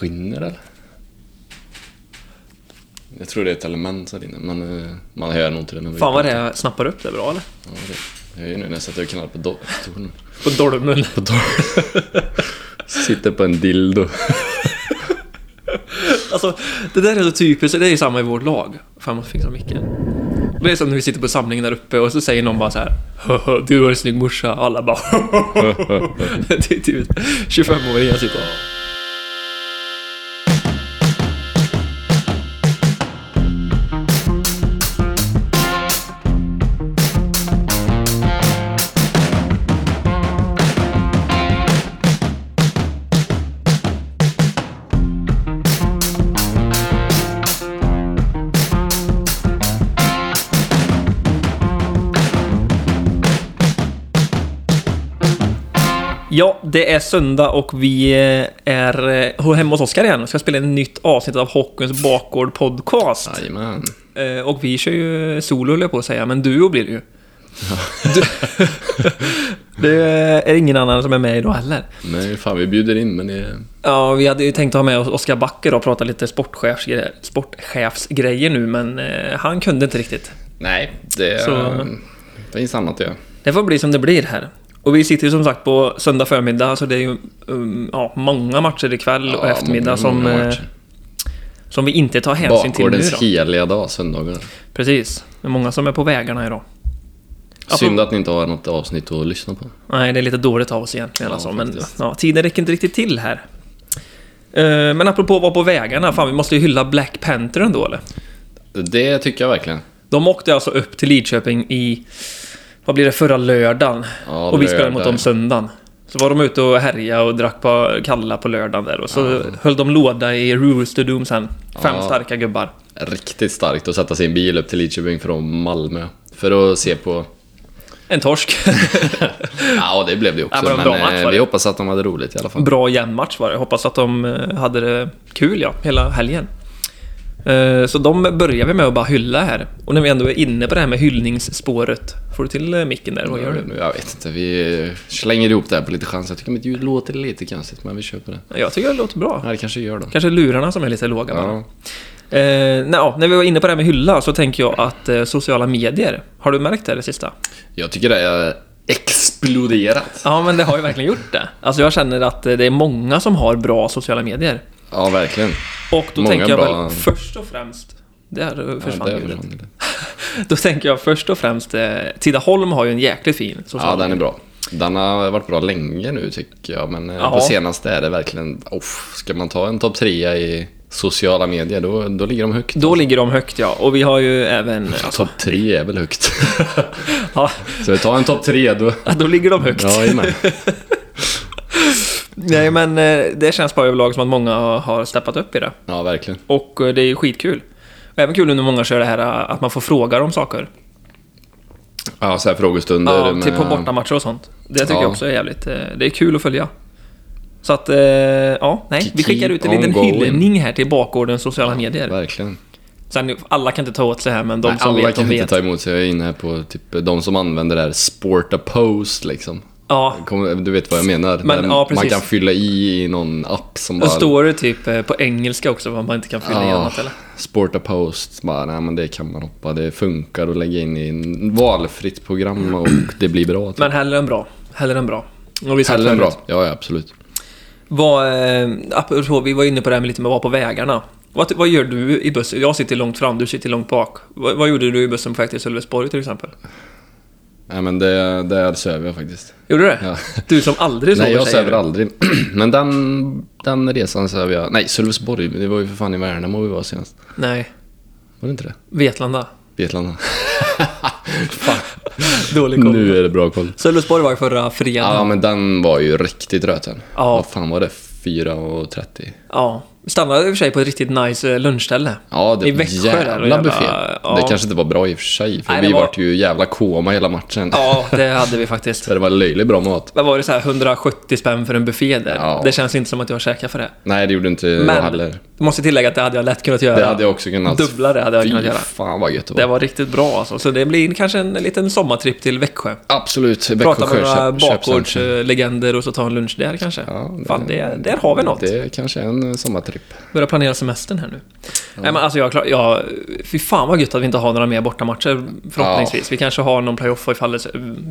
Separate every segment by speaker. Speaker 1: rinner eller? Jag tror det är ett element som rinner, men eh, man hör nog inte det. när vi-
Speaker 2: Fan vad det är, jag snappar upp det bra eller?
Speaker 1: Ja, det jag är ju nu nästan att jag knallar på doktorn.
Speaker 2: På dolmen.
Speaker 1: På doktorn. Sitter på en dildo.
Speaker 2: Alltså, det där är så typiskt, det är ju samma i vårt lag. Fan, man fingrar micken. Det är som när vi sitter på samlingen där uppe och så säger någon bara så här "Haha, Du har en snygg morsa. Alla bara Det är typ 25-åringar sitter Ja, det är söndag och vi eh, är eh, hemma hos Oskar igen och ska spela in ett nytt avsnitt av Hockeyns bakgård podcast.
Speaker 1: Jajamän.
Speaker 2: Eh, Och vi kör ju solo höll jag på att säga, men duo blir det ju. Du... det är ingen annan som är med idag heller.
Speaker 1: Nej, fan vi bjuder in men det...
Speaker 2: Ja, vi hade ju tänkt ha med oss Oskar Backer och prata lite sportchefsgre- sportchefsgrejer nu, men eh, han kunde inte riktigt.
Speaker 1: Nej, det...
Speaker 2: Så-
Speaker 1: det finns annat att göra.
Speaker 2: Det får bli som det blir här. Och vi sitter ju som sagt på söndag förmiddag, så det är ju um, ja, många matcher ikväll och
Speaker 1: Ja,
Speaker 2: eftermiddag
Speaker 1: många,
Speaker 2: som,
Speaker 1: många
Speaker 2: eh,
Speaker 1: matcher.
Speaker 2: som vi inte tar hänsyn till nu
Speaker 1: Bakgårdens
Speaker 2: då.
Speaker 1: heliga dag, söndagar.
Speaker 2: Precis. Det är många som är på vägarna idag.
Speaker 1: Synd att ni inte har något avsnitt att lyssna på.
Speaker 2: Nej, det är lite dåligt av oss egentligen
Speaker 1: Ja,
Speaker 2: alltså, men
Speaker 1: faktiskt.
Speaker 2: ja, tiden räcker inte riktigt till här. Eh, Men apropå att vara på vägarna, fan vi måste ju hylla Black Panther ändå eller?
Speaker 1: Det tycker jag verkligen.
Speaker 2: De åkte alltså upp till Lidköping i... Vad blir det? Förra lördagen.
Speaker 1: Ja,
Speaker 2: och vi
Speaker 1: lördag.
Speaker 2: spelade mot dem söndagen. Så var de ute och härja och drack på kalla på lördagen där och så höll de låda i Rooster Doom sen. Fem
Speaker 1: Ja.
Speaker 2: starka gubbar.
Speaker 1: Riktigt starkt att sätta sin bil upp till Lidköping från Malmö. För att se på...
Speaker 2: En torsk.
Speaker 1: Ja, det blev det också.
Speaker 2: Ja, men
Speaker 1: men
Speaker 2: en bra match
Speaker 1: eh,
Speaker 2: var det.
Speaker 1: vi hoppas att de hade roligt i alla fall.
Speaker 2: Bra jämn match var det. Hoppas att de eh, hade det kul ja, hela helgen. Eh, Så de börjar vi med att bara hylla här. Och när vi ändå är inne på det här med hyllningsspåret. Får du till eh, micken där? Vad gör du?
Speaker 1: Jag vet inte, vi slänger ihop det här på lite chans. Jag tycker mitt ljud låter lite konstigt, men vi köper det.
Speaker 2: Jag tycker det låter bra.
Speaker 1: Ja, det kanske gör det.
Speaker 2: Kanske lurarna som är lite låga bara.
Speaker 1: Ja.
Speaker 2: Eh, nej, ja, när vi var inne på det här med hylla så tänker jag att eh, sociala medier, har du märkt det det sista?
Speaker 1: Jag tycker det är exploderat.
Speaker 2: Ja, men det har ju verkligen gjort det. Alltså jag känner att eh, det är många som har bra sociala medier.
Speaker 1: Ja, verkligen.
Speaker 2: Och då
Speaker 1: Många
Speaker 2: tänker jag
Speaker 1: bra-
Speaker 2: väl först och främst... Där eh,
Speaker 1: Ja,
Speaker 2: försvann
Speaker 1: det är
Speaker 2: ljudet.
Speaker 1: fan-
Speaker 2: Då tänker jag först och främst, eh, Tidaholm har ju en jäkligt fin social
Speaker 1: ja, den är bra. Den har varit bra länge nu tycker jag, men eh,
Speaker 2: Ja.
Speaker 1: på senaste är det verkligen... Oh, ska man ta en topp trea i sociala medier, då, då ligger de högt.
Speaker 2: Då ligger de högt ja, och vi har ju även...
Speaker 1: Topp tre är väl högt.
Speaker 2: Ja,
Speaker 1: Så ta en topp tre då.
Speaker 2: då ligger de högt.
Speaker 1: Ja, jajamän.
Speaker 2: Nej men eh, det känns bara överlag som att många har steppat upp i det.
Speaker 1: ja, verkligen.
Speaker 2: Och eh, det är ju skitkul. Och även kul nu när många kör det här eh, att man får frågor om saker.
Speaker 1: Ja, så här frågestunder.
Speaker 2: Ja,
Speaker 1: med-
Speaker 2: typ på bortamatcher och sånt. Det tycker
Speaker 1: Ja.
Speaker 2: jag också är jävligt... eh, Det är kul att följa. Så att, eh, ja, nej. Vi
Speaker 1: Keep
Speaker 2: skickar ut en liten
Speaker 1: on going.
Speaker 2: hyllning här till bakgårdens sociala medier.
Speaker 1: Verkligen.
Speaker 2: Sen, alla kan inte ta åt sig här, men de
Speaker 1: Nej,
Speaker 2: som
Speaker 1: alla
Speaker 2: vet, de
Speaker 1: kan inte
Speaker 2: vet.
Speaker 1: ta emot sig. Jag är inne på typ, de som använder det här sport a post liksom.
Speaker 2: Ja,
Speaker 1: Kommer- Du vet vad jag menar.
Speaker 2: Men,
Speaker 1: Där
Speaker 2: ja, precis.
Speaker 1: man kan fylla i i någon app som
Speaker 2: och
Speaker 1: bara...
Speaker 2: står det typ eh, på engelska också, vad man inte kan fylla i annat eller?
Speaker 1: Sport a post, bara, nej men det kan man hoppa. Det funkar att lägga in i en valfritt program och det blir bra. Typ.
Speaker 2: Men hellre än bra. Hellre än bra. Och vi sa
Speaker 1: Hellre än
Speaker 2: förut,
Speaker 1: bra. Ja, ja, absolut.
Speaker 2: Vad, eh, apropå, vi var inne på det här med lite med att vara på vägarna. Vad, vad gör du i bussen? Jag sitter långt fram, du sitter långt bak. Vad, vad gjorde du i bussen på väg till Sölvesborg till exempel?
Speaker 1: Nej men det, där söver jag faktiskt.
Speaker 2: Gjorde du det?
Speaker 1: Ja.
Speaker 2: Du som aldrig sover
Speaker 1: Nej, jag
Speaker 2: säger
Speaker 1: söver
Speaker 2: du.
Speaker 1: aldrig. Men den, den resan söver jag. Nej, Sölvesborg. Det var ju för fan i Värnamo vi var senast.
Speaker 2: Nej,
Speaker 1: Var det inte det?
Speaker 2: Vetlanda.
Speaker 1: Vetlanda.
Speaker 2: Dålig koll.
Speaker 1: nu är det bra koll.
Speaker 2: Sölvesborg var ju förra fredagen.
Speaker 1: Ja, men den var ju riktigt röten.
Speaker 2: Ja.
Speaker 1: Vad fan var det? 4.30?
Speaker 2: Ja. Vi stannade i och för sig på ett riktigt nice eh, lunchställe.
Speaker 1: Ja, det
Speaker 2: I
Speaker 1: var
Speaker 2: Växjö där,
Speaker 1: jävla,
Speaker 2: och jävla-
Speaker 1: buffé.
Speaker 2: ja.
Speaker 1: Det kanske inte var bra i och för sig, för
Speaker 2: Nej, det
Speaker 1: vi
Speaker 2: var-
Speaker 1: vart ju jävla koma hela matchen.
Speaker 2: Ja, det hade vi faktiskt.
Speaker 1: Så det var löjligt bra mat.
Speaker 2: Vad var det så här 170 spänn för en buffé där?
Speaker 1: Ja.
Speaker 2: Det känns inte som att jag käkar för det.
Speaker 1: Nej, det gjorde inte jag
Speaker 2: Men-
Speaker 1: heller.
Speaker 2: Måste tillägga att det hade jag lätt kunnat göra.
Speaker 1: Det hade jag också kunnat.
Speaker 2: Dubbla det hade jag
Speaker 1: Fy
Speaker 2: kunnat göra.
Speaker 1: fan vad gött det var.
Speaker 2: Det var riktigt bra alltså. Så det blir kanske en liten sommartripp till Växjö.
Speaker 1: Absolut.
Speaker 2: Prata med
Speaker 1: Växjö
Speaker 2: några
Speaker 1: köp- köpcentrum.
Speaker 2: bakgårdslegender och så ta en lunch där kanske.
Speaker 1: Ja, det-
Speaker 2: Fan, det, där har vi något.
Speaker 1: Det kanske är en eh, sommartripp.
Speaker 2: Börja planera semestern här nu. Nej, men alltså jag, är klar, jag, fy fan vad gött att vi inte har några mer bortamatcher förhoppningsvis. Vi kanske har någon playoff ifall det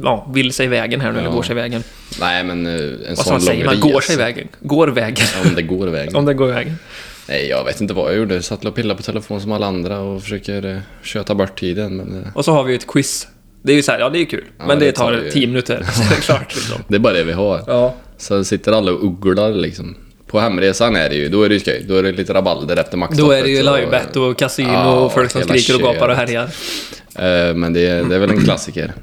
Speaker 2: ja, vill sig vägen här nu, eller
Speaker 1: Ja.
Speaker 2: går sig vägen.
Speaker 1: Nej, men eh, en
Speaker 2: Vad
Speaker 1: sån
Speaker 2: fan
Speaker 1: lång
Speaker 2: säger man?
Speaker 1: res.
Speaker 2: Går sig vägen? Går vägen.
Speaker 1: Om det går vägen.
Speaker 2: Om den går vägen.
Speaker 1: Nej, jag vet inte vad jag gjorde. Jag satt och pillade på telefon som alla andra och försöker eh, köta bort tiden. Men eh,
Speaker 2: Och så har vi ju ett quiz. Det är ju så här, ja det är ju kul. men det, tar
Speaker 1: ju-
Speaker 2: 10 minuter, så är det klart liksom.
Speaker 1: det är bara det vi har.
Speaker 2: Ja.
Speaker 1: Så sitter alla och ugglar liksom. På hemresan är det ju, då är det ju skoj. Då är det lite rabalder efter maxstoppet.
Speaker 2: Då är det ju
Speaker 1: och-
Speaker 2: livebet och kasino
Speaker 1: Ja,
Speaker 2: och folk som
Speaker 1: hela
Speaker 2: skriker och gapar och
Speaker 1: köret.
Speaker 2: härjar.
Speaker 1: Eh, Men det, det är väl en klassiker.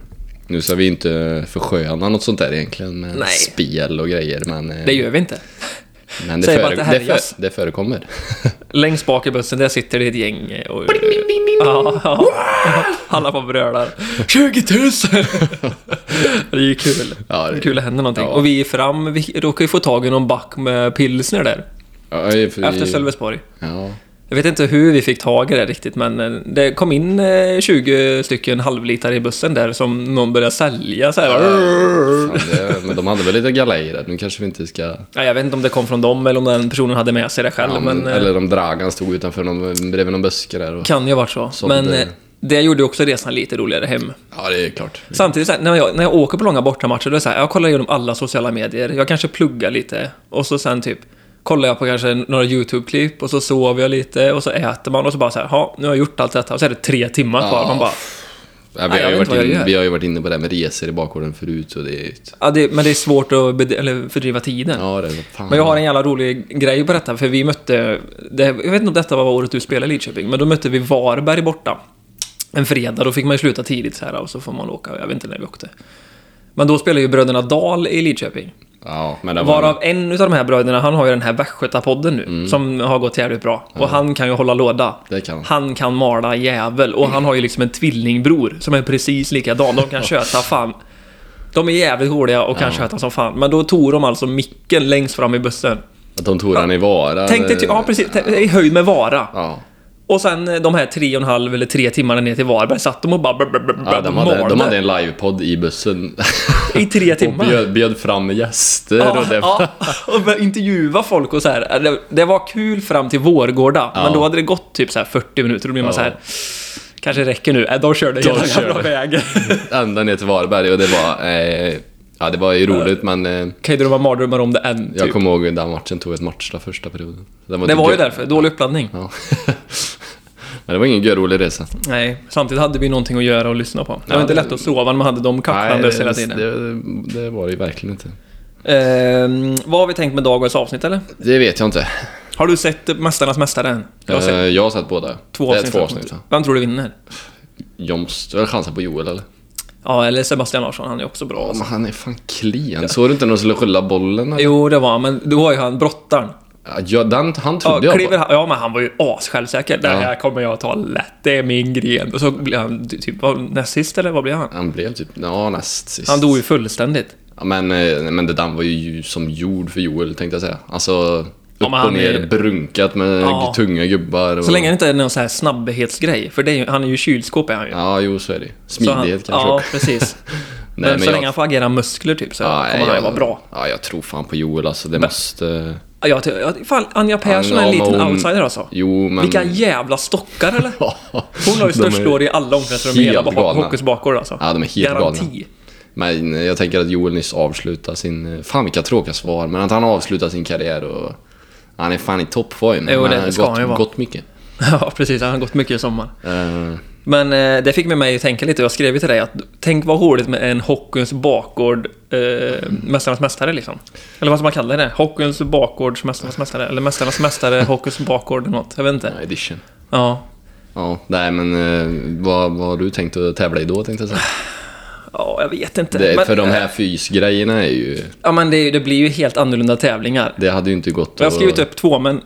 Speaker 1: Nu ska vi inte försköna något sånt där egentligen med
Speaker 2: Nej.
Speaker 1: spel och grejer. Men eh,
Speaker 2: Det gör vi inte.
Speaker 1: Men det,
Speaker 2: Säg bara
Speaker 1: före,
Speaker 2: att det
Speaker 1: det,
Speaker 2: här är
Speaker 1: för,
Speaker 2: jazz.
Speaker 1: det förekommer.
Speaker 2: Längst bak i bussen, där sitter det ett gäng eh, och... Ja, ja. Alla bara brölar. 20 000! Det är ju kul.
Speaker 1: Ja, det
Speaker 2: det
Speaker 1: är-
Speaker 2: är kul att händer någonting.
Speaker 1: ja.
Speaker 2: Och vi är fram, vi råkar ju få tag i någon back med pilsner där.
Speaker 1: Ja, i- för-
Speaker 2: Efter Sölvesborg.
Speaker 1: Ja.
Speaker 2: Jag vet inte hur vi fick tag i det riktigt, men eh, det kom in eh, 20 stycken halvlitare i bussen där som någon började sälja så här.
Speaker 1: Fan, det, men de hade väl lite galej där. Nu kanske vi inte ska...
Speaker 2: Ja, jag vet inte om det kom från dem eller om den personen hade med sig det själv,
Speaker 1: Ja,
Speaker 2: men...
Speaker 1: men,
Speaker 2: eh,
Speaker 1: eller om Dragan stod utanför någon, bredvid någon buske där. Och,
Speaker 2: Kan ju ha varit så.
Speaker 1: Sånt
Speaker 2: men
Speaker 1: är det.
Speaker 2: eh, det gjorde ju också resan lite roligare hem.
Speaker 1: ja, det är klart.
Speaker 2: Samtidigt, så här, när, jag, när jag åker på långa bortamatcher, då är det så här, jag kollar igenom alla sociala medier, jag kanske pluggar lite, och så sen typ kollar jag på kanske några YouTube-klipp, och så sover jag lite, och så äter man, och så bara så här, ja, nu har jag gjort allt detta, och så är det tre timmar kvar,
Speaker 1: Ja.
Speaker 2: man bara,
Speaker 1: Ja, vi,
Speaker 2: Nej, jag
Speaker 1: har ju
Speaker 2: vet inte
Speaker 1: varit
Speaker 2: vad jag
Speaker 1: in,
Speaker 2: gör.
Speaker 1: vi har ju varit inne på det här med resor i bakgården förut. Så det är, ett-
Speaker 2: ja, det, men det är svårt att bed- eller fördriva tiden.
Speaker 1: ja, det är fan.
Speaker 2: Men jag har en jävla rolig grej på detta, för vi mötte... Det, jag vet inte om detta var året du spelade i Lidköping, men då mötte vi Varberg borta. En fredag, då fick man ju sluta tidigt så här och så får man åka, jag vet inte när vi åkte. Men då spelade ju bröderna Dahl i Lidköping.
Speaker 1: Ja, men det var...
Speaker 2: Varav en utav de här bröderna, han har ju den här Västgötapodden nu, som har gått jävligt bra. Och han kan ju hålla låda.
Speaker 1: Det kan han.
Speaker 2: Han kan mala jävel, och han har ju liksom en tvillingbror som är precis likadan. De kan köta fan. De är jävligt roliga och kan köta som fan. Men då tog de alltså micken längst fram i bussen.
Speaker 1: Att de tog den i vara.
Speaker 2: Tänk dig, ty- ja precis, Tänk- i höjd med Vara.
Speaker 1: Ja.
Speaker 2: Och sen eh, de här tre och en halv eller tre timmarna ner till Varberg satt de och bara brr, brr, brr,
Speaker 1: Ja, de, hade,
Speaker 2: malde
Speaker 1: de hade en livepodd i bussen.
Speaker 2: i tre timmar.
Speaker 1: och bjöd, bjöd fram gäster.
Speaker 2: Ja,
Speaker 1: och det,
Speaker 2: ja, och började intervjua folk och så här. Det, det var kul fram till Vårgårda, men då hade det gått typ så här 40 minuter och då blir man
Speaker 1: Ja.
Speaker 2: så här. Kanske räcker nu. Äh, de körde hela
Speaker 1: körde. Mm.
Speaker 2: jävla vägen.
Speaker 1: ända ner till Varberg och det var... Eh, ja, det var ju roligt men... Eh,
Speaker 2: kan ju drömma mardrömmar om det än.
Speaker 1: jag
Speaker 2: Typ.
Speaker 1: kommer ihåg den matchen tog ett matchstraff första perioden. Den
Speaker 2: Det
Speaker 1: inte
Speaker 2: var ju
Speaker 1: gö-
Speaker 2: därför. Dålig uppladdning.
Speaker 1: Ja. men det var ingen görrolig resa.
Speaker 2: Nej, samtidigt hade vi någonting att göra och lyssna på. Det
Speaker 1: Ja,
Speaker 2: var inte
Speaker 1: det-
Speaker 2: lätt att sova när man hade dem kacklandes hela tiden.
Speaker 1: det, det var det ju verkligen inte.
Speaker 2: Ehm, vad har vi tänkt med dagens avsnitt eller?
Speaker 1: Det vet jag inte.
Speaker 2: Har du sett Mästarnas Mästare än? Jag har
Speaker 1: Eh,
Speaker 2: sett
Speaker 1: jag har sett båda.
Speaker 2: två
Speaker 1: det är
Speaker 2: avsnitt.
Speaker 1: två avsnitt. ja.
Speaker 2: Vem tror du vinner?
Speaker 1: Joms, du har chansen på Joel eller?
Speaker 2: Ja, eller Sebastian Larsson, han är också bra. alltså.
Speaker 1: men han är fan klen. Såg du inte när de skulle skylla bollen? eller?
Speaker 2: Jo, det var han, men då var ju han brottaren.
Speaker 1: Ja, den, han
Speaker 2: Ja,
Speaker 1: trodde jag
Speaker 2: kliver
Speaker 1: på.
Speaker 2: han, ja, men han var ju assjälvsäker. Det här kommer jag ta lätt, det är min gren. Och så blev han ty- typ vad, näst sist, eller vad blev han?
Speaker 1: Han blev typ, ja näst sist.
Speaker 2: Han dog ju fullständigt.
Speaker 1: Ja, men, eh, men det där var ju som jord för Joel tänkte jag säga. Alltså upp
Speaker 2: men
Speaker 1: och
Speaker 2: han
Speaker 1: ner,
Speaker 2: är-
Speaker 1: brunkat med
Speaker 2: Ja.
Speaker 1: tunga gubbar. Och...
Speaker 2: Så länge det inte är någon sån här snabbhetsgrej, för det är ju, han är ju kylskåp är han ju.
Speaker 1: Ja, jo så är det
Speaker 2: Så han,
Speaker 1: Smidighet kanske
Speaker 2: Ja,
Speaker 1: också.
Speaker 2: precis. men,
Speaker 1: Nej, men
Speaker 2: så
Speaker 1: jag-
Speaker 2: länge han får agera muskler typ så
Speaker 1: Ja,
Speaker 2: kommer han ju vara bra.
Speaker 1: Ja, jag tror fan på Joel alltså. Det måste...
Speaker 2: Ja, jag, ty- jag, fan, Anja Persson är en
Speaker 1: Ja, men
Speaker 2: liten
Speaker 1: hon-
Speaker 2: outsider alltså.
Speaker 1: Jo, men...
Speaker 2: Vilka jävla stockar eller? Hon har ju
Speaker 1: De är-
Speaker 2: störst lår i alla omklädningsrum i hela
Speaker 1: helt
Speaker 2: ho-
Speaker 1: galna.
Speaker 2: hockeys bakgård alltså.
Speaker 1: Ja, de är helt
Speaker 2: Garanti.
Speaker 1: galna. Men eh, jag tänker att Joel nyss avslutar sin... eh, Fan vilka tråkiga svar, men att han avslutar sin karriär och... Han är fan i toppform.
Speaker 2: Jo, det
Speaker 1: har
Speaker 2: ska
Speaker 1: gått,
Speaker 2: han ju vara.
Speaker 1: Gått mycket.
Speaker 2: Ja, precis. Han har gått mycket i sommar.
Speaker 1: Eh,
Speaker 2: Men eh, det fick med mig att tänka lite. Jag skrev ju till dig att tänk vad roligt med en hockeyns bakgård eh, Mästarnas Mästare liksom. Eller vad ska man kalla det? Hockeyns bakgårds Mästarnas Mästare. Eller Mästarnas Mästare, Hockeyns bakgård eller något. Jag vet inte.
Speaker 1: edition.
Speaker 2: Ja.
Speaker 1: Ja, nej men eh, vad, vad har du tänkt att tävla i då tänkte jag säga?
Speaker 2: Ja, jag vet inte.
Speaker 1: Det,
Speaker 2: men, eh,
Speaker 1: för de här fysgrejerna är ju...
Speaker 2: Ja, men det, är ju- det blir ju helt annorlunda tävlingar.
Speaker 1: Det hade ju inte gått
Speaker 2: Jag har skrivit upp två, men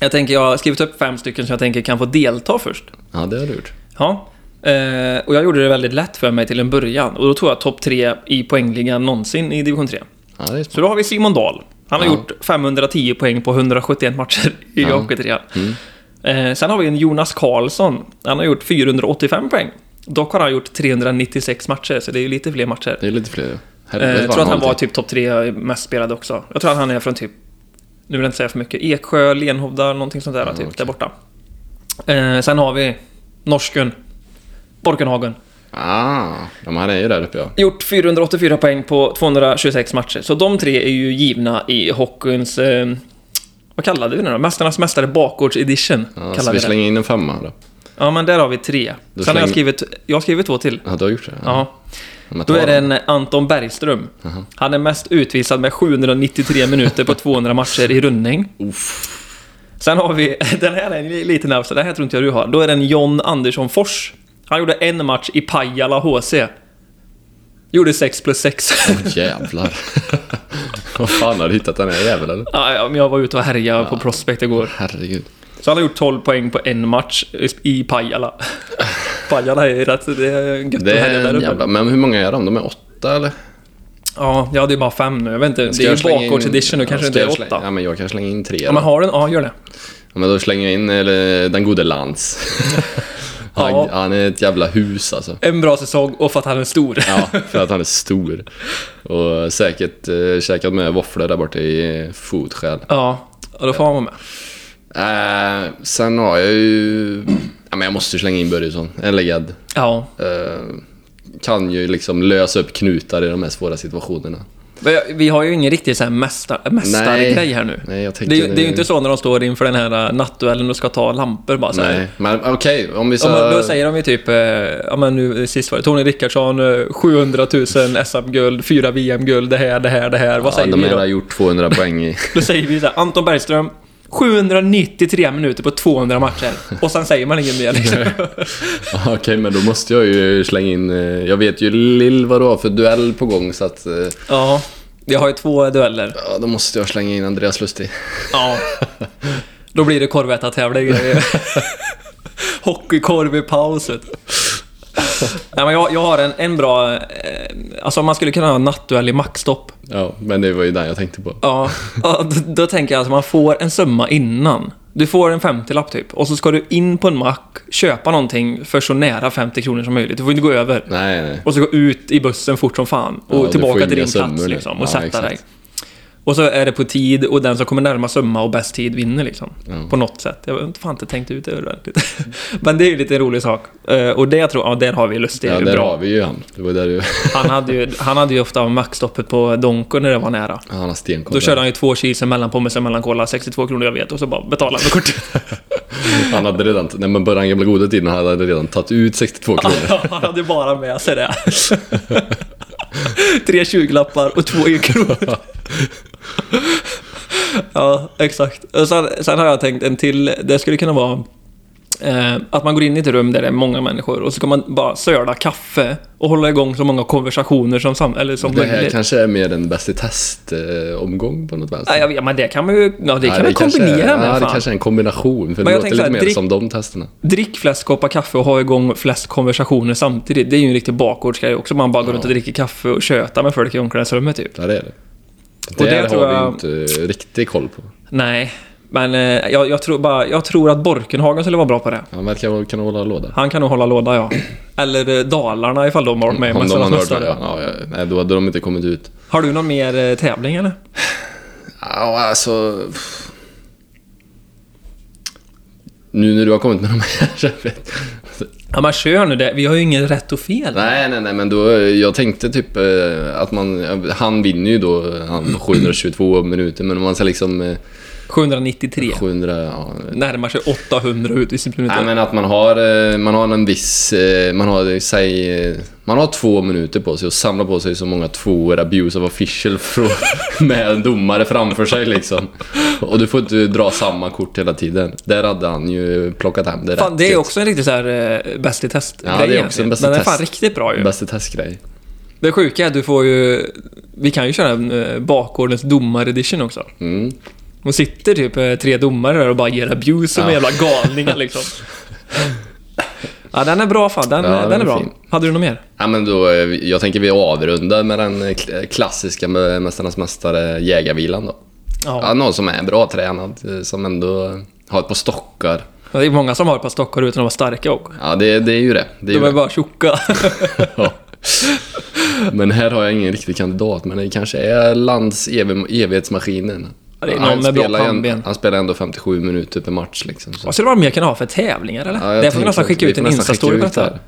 Speaker 2: Jag tänker, jag har skrivit upp fem stycken som jag tänker kan få delta först.
Speaker 1: Ja, det har du gjort.
Speaker 2: Ja. Eh, och jag gjorde det väldigt lätt för mig till en början. Och då tog jag topp tre i poängligan någonsin i division 3.
Speaker 1: Ja, det är smart.
Speaker 2: Så då har vi Simon Dahl. Han har
Speaker 1: Ja.
Speaker 2: gjort 510 poäng på 171 matcher i
Speaker 1: Ja. Mm.
Speaker 2: HK3. Eh, sen har vi en Jonas Karlsson. Han har gjort 485 poäng. Dock har han gjort 396 matcher, så det är ju lite fler matcher.
Speaker 1: Det är lite fler.
Speaker 2: Eh,
Speaker 1: Helvete,
Speaker 2: jag
Speaker 1: vad
Speaker 2: tror att han
Speaker 1: har
Speaker 2: var
Speaker 1: alltid.
Speaker 2: typ topp tre mest spelade också. Jag tror att han är från typ, nu vill jag inte säga för mycket, Eksjö, Lenhovda, någonting sånt där typ,
Speaker 1: okej.
Speaker 2: där borta. Eh, sen har vi norsken, Borkenhagen.
Speaker 1: Ah, de här är ju där uppe ja.
Speaker 2: Gjort 484 poäng på 226 matcher. Så de tre är ju givna i hockeyns... Eh, vad kallade vi den då? Mästarnas mästare bakgårds edition.
Speaker 1: ja så
Speaker 2: kallade
Speaker 1: vi
Speaker 2: vi den.
Speaker 1: slänger in en femma då.
Speaker 2: Ja, men där har vi tre.
Speaker 1: Då
Speaker 2: Sen har jag
Speaker 1: slänger-
Speaker 2: skrivit... Jag har skrivit två till.
Speaker 1: Ja, du har gjort det?
Speaker 2: Ja.
Speaker 1: Men
Speaker 2: Då
Speaker 1: ta
Speaker 2: är det
Speaker 1: den.
Speaker 2: en Anton Bergström. Han är mest utvisad med 793 minuter på 200 matcher i rundning. Sen har vi, den här är en liten nervs, den här tror inte jag du har. Då är det en John Andersson Fors. Han gjorde en match i Pajala HC. Gjorde 6 plus 6.
Speaker 1: Jävlar. Vad fan har du hittat den här jäveln eller?
Speaker 2: Ja, ja, men jag var ute och härjade på Prospect igår.
Speaker 1: Herregud.
Speaker 2: Så han har gjort 12 poäng på en match i Pajala. Pajala är rätt, det är gött
Speaker 1: Det
Speaker 2: att härja
Speaker 1: är
Speaker 2: där
Speaker 1: en
Speaker 2: uppe.
Speaker 1: jävla... Men hur många är de? De är åtta eller?
Speaker 2: Ja, jag hade ju bara fem nu. Jag vet inte, det
Speaker 1: Ska jag
Speaker 2: är ju
Speaker 1: slänga in-
Speaker 2: bakgårdsedition och
Speaker 1: Ja, ska
Speaker 2: kanske inte är
Speaker 1: jag slänga-
Speaker 2: åtta.
Speaker 1: Ja, men jag kan slänga in tre.
Speaker 2: Ja, men har den? Ja, gör det.
Speaker 1: Ja, men då slänger jag in eller, den gode Lantz. han,
Speaker 2: Ja.
Speaker 1: han är ett jävla hus alltså.
Speaker 2: En bra säsong och för att han är stor.
Speaker 1: Ja, för att han är stor. Och säkert eh, käkat med våfflor där borta i eh, fotskäl.
Speaker 2: Ja, och då får han vara med.
Speaker 1: Eh, sen har jag ju... Ja, men jag måste slänga in Börjesson. En legend.
Speaker 2: Ja.
Speaker 1: Eh, kan ju liksom lösa upp knutar i de här svåra situationerna.
Speaker 2: Men jag- Vi har ju ingen riktig så här mästar, mästargrej här nu.
Speaker 1: Nej, jag
Speaker 2: Det,
Speaker 1: tänker...
Speaker 2: är ju- det är ju inte så när de står inför den här äh, nattduellen och ska ta lampor bara så här.
Speaker 1: Nej, men okej, om vi
Speaker 2: Ja,
Speaker 1: så...
Speaker 2: men då säger de ju typ, eh, ja men nu eh, sist var det Tony Rickardsson, eh, 700 000 SM-guld, 4 VM-guld, det här, det här, det här. Vad
Speaker 1: ja,
Speaker 2: säger
Speaker 1: de
Speaker 2: vi
Speaker 1: här har
Speaker 2: då?
Speaker 1: gjort 200 poäng i...
Speaker 2: Då säger vi så här, Anton Bergström, 793 minuter på 200 matcher. Och sen säger man inget mer liksom.
Speaker 1: Ja, Okej, men då måste jag ju slänga in... eh, Jag vet ju Lill vad du har för duell på gång, så att... eh,
Speaker 2: Ja, jag har ju två dueller.
Speaker 1: Ja, då måste jag slänga in Andreas Lustig.
Speaker 2: Ja. Då blir det korvettatävling. Hockeykorv i pauset. Nej, men jag, jag har en, en bra... Eh, alltså man skulle kunna ha en nattduell i maxstopp.
Speaker 1: Ja, men det var ju den jag tänkte på.
Speaker 2: Ja, ja, då, då tänker jag att man får en summa innan. Du får en 50-lapp typ och så ska du in på en mack, köpa någonting för så nära 50 kronor som möjligt. Du får inte gå över.
Speaker 1: Nej, nej.
Speaker 2: Och så gå ut i bussen fort som fan
Speaker 1: Ja,
Speaker 2: och
Speaker 1: du får
Speaker 2: tillbaka
Speaker 1: inga
Speaker 2: till din plats
Speaker 1: sömmor nu.
Speaker 2: liksom, och
Speaker 1: Ja,
Speaker 2: sätta
Speaker 1: exakt.
Speaker 2: dig. Och så är det på tid och den som kommer närmast summa och bäst tid vinner liksom.
Speaker 1: Ja.
Speaker 2: På något sätt. Jag har inte- fan inte tänkt ut det ordentligt. Men det är ju lite en rolig sak. Eh, Och det tror jag, ja, där har vi Lustig.
Speaker 1: Ja, där
Speaker 2: bra.
Speaker 1: har vi ju han. Det var där du...
Speaker 2: Han, hade ju, han hade ju ofta maxstoppet på Donko när det var nära.
Speaker 1: Ja, Han har stenkoll.
Speaker 2: Då körde han ju två cheese, mellanpommes och mellankola, 62 kronor jag vet, och så bara betalade han med kortet.
Speaker 1: Han hade redan... Nej, men på den gamla goda tiden hade han redan tagit ut 62 kronor.
Speaker 2: Han hade ju bara med sig det. Tre 20-lappar och två enkronor. ja, exakt. Och sen, sen har jag tänkt en till. Det skulle kunna vara eh, att man går in i ett rum där det är många människor och så kan man bara söla kaffe och hålla igång så många konversationer som, sam- eller som
Speaker 1: Det här
Speaker 2: möjligt.
Speaker 1: kanske är mer en bäst i test-omgång på något vänster.
Speaker 2: Nej, jag vet, men det kan man ju ja, det kan
Speaker 1: Ja,
Speaker 2: man
Speaker 1: kanske
Speaker 2: kombinera
Speaker 1: är,
Speaker 2: med.
Speaker 1: Ja, det
Speaker 2: fan.
Speaker 1: kanske är en kombination. För
Speaker 2: Men
Speaker 1: det
Speaker 2: jag
Speaker 1: låter lite
Speaker 2: tänker så här,
Speaker 1: mer
Speaker 2: drick-
Speaker 1: som de testerna.
Speaker 2: Drick flest koppar kaffe och ha igång flest konversationer samtidigt. Det är ju en riktig bakgårdsgrej också. Man bara går runt och dricker kaffe och tjötar med folk i omklädningsrummet typ.
Speaker 1: Ja, det är det.
Speaker 2: Och
Speaker 1: Det,
Speaker 2: det tror
Speaker 1: har vi
Speaker 2: jag-
Speaker 1: ju inte riktig koll på.
Speaker 2: Nej, men eh, jag, jag, tror bara, jag tror att Borkenhagen skulle vara bra på det.
Speaker 1: Han verkar kunna hålla låda.
Speaker 2: Han kan nog hålla låda, ja. Eller eh, Dalarna ifall de har varit med i
Speaker 1: Om de
Speaker 2: Mästarnas
Speaker 1: har hört det,
Speaker 2: Mästare.
Speaker 1: ja. ja, ja. Nej, då hade de inte kommit ut.
Speaker 2: Har du någon mer eh, tävling eller?
Speaker 1: Ja, alltså... Nu när du har kommit med de här... jag vet.
Speaker 2: Ja, men kör nu det. Vi har ju inget rätt och fel.
Speaker 1: nej, nej, nej, men då... Jag tänkte typ eh, att man... Han vinner ju då han 722 minuter, men om man ska liksom... eh,
Speaker 2: 793.
Speaker 1: 700... Ja,
Speaker 2: Närmar sig 800 utvisningsminuter.
Speaker 1: nej, men att man har, eh, man har en viss... eh, Man har, eh, säg... eh, Man har två minuter på sig att samla på sig så många tvåor abuse of official från, med en domare framför sig liksom. Och du får inte dra samma kort hela tiden. Där hade han ju plockat hem det
Speaker 2: Fan,
Speaker 1: rätt,
Speaker 2: det är
Speaker 1: liksom.
Speaker 2: också en riktig så här eh, bäst i test
Speaker 1: Ja, det är också en bäst i
Speaker 2: Den är
Speaker 1: test.
Speaker 2: fan riktigt bra ju.
Speaker 1: Bästa testgrej.
Speaker 2: Det sjuka är att du får ju... Vi kan ju köra en eh, bakgårdens domar-edition också.
Speaker 1: Mm.
Speaker 2: Hon sitter typ eh, tre domare där och bara ger abuse som
Speaker 1: Ja.
Speaker 2: jävla galningar liksom. Ja, den är bra fan. Den, eh,
Speaker 1: Ja,
Speaker 2: den,
Speaker 1: den
Speaker 2: är
Speaker 1: är
Speaker 2: bra.
Speaker 1: fin.
Speaker 2: Hade du något mer?
Speaker 1: Ja, men då, eh, jag tänker vi avrundar med den eh, kl- klassiska med Mästarnas Mästare jägarvilan då. Ja,
Speaker 2: Ja.
Speaker 1: någon som är bra tränad, eh, som ändå har ett par stockar.
Speaker 2: Det är många som har ett par stockar utan att vara starka också.
Speaker 1: Ja, det, det är ju det. det, är
Speaker 2: De
Speaker 1: ju
Speaker 2: är
Speaker 1: det.
Speaker 2: bara tjocka.
Speaker 1: Ja. Men här har jag ingen riktig kandidat, men det kanske är Lands ev- evighetsmaskinen.
Speaker 2: Ja, det är någon med bra
Speaker 1: spelar ju en-
Speaker 2: pannben.
Speaker 1: han spelar ändå 57 minuter per match liksom. Så.
Speaker 2: Vad skulle det vara mer kan ha för tävlingar eller?
Speaker 1: Ja, jag
Speaker 2: det får vi
Speaker 1: tänker
Speaker 2: nästan
Speaker 1: att
Speaker 2: skicka ut
Speaker 1: får
Speaker 2: en
Speaker 1: nästan
Speaker 2: instastory på
Speaker 1: skicka ut
Speaker 2: detta.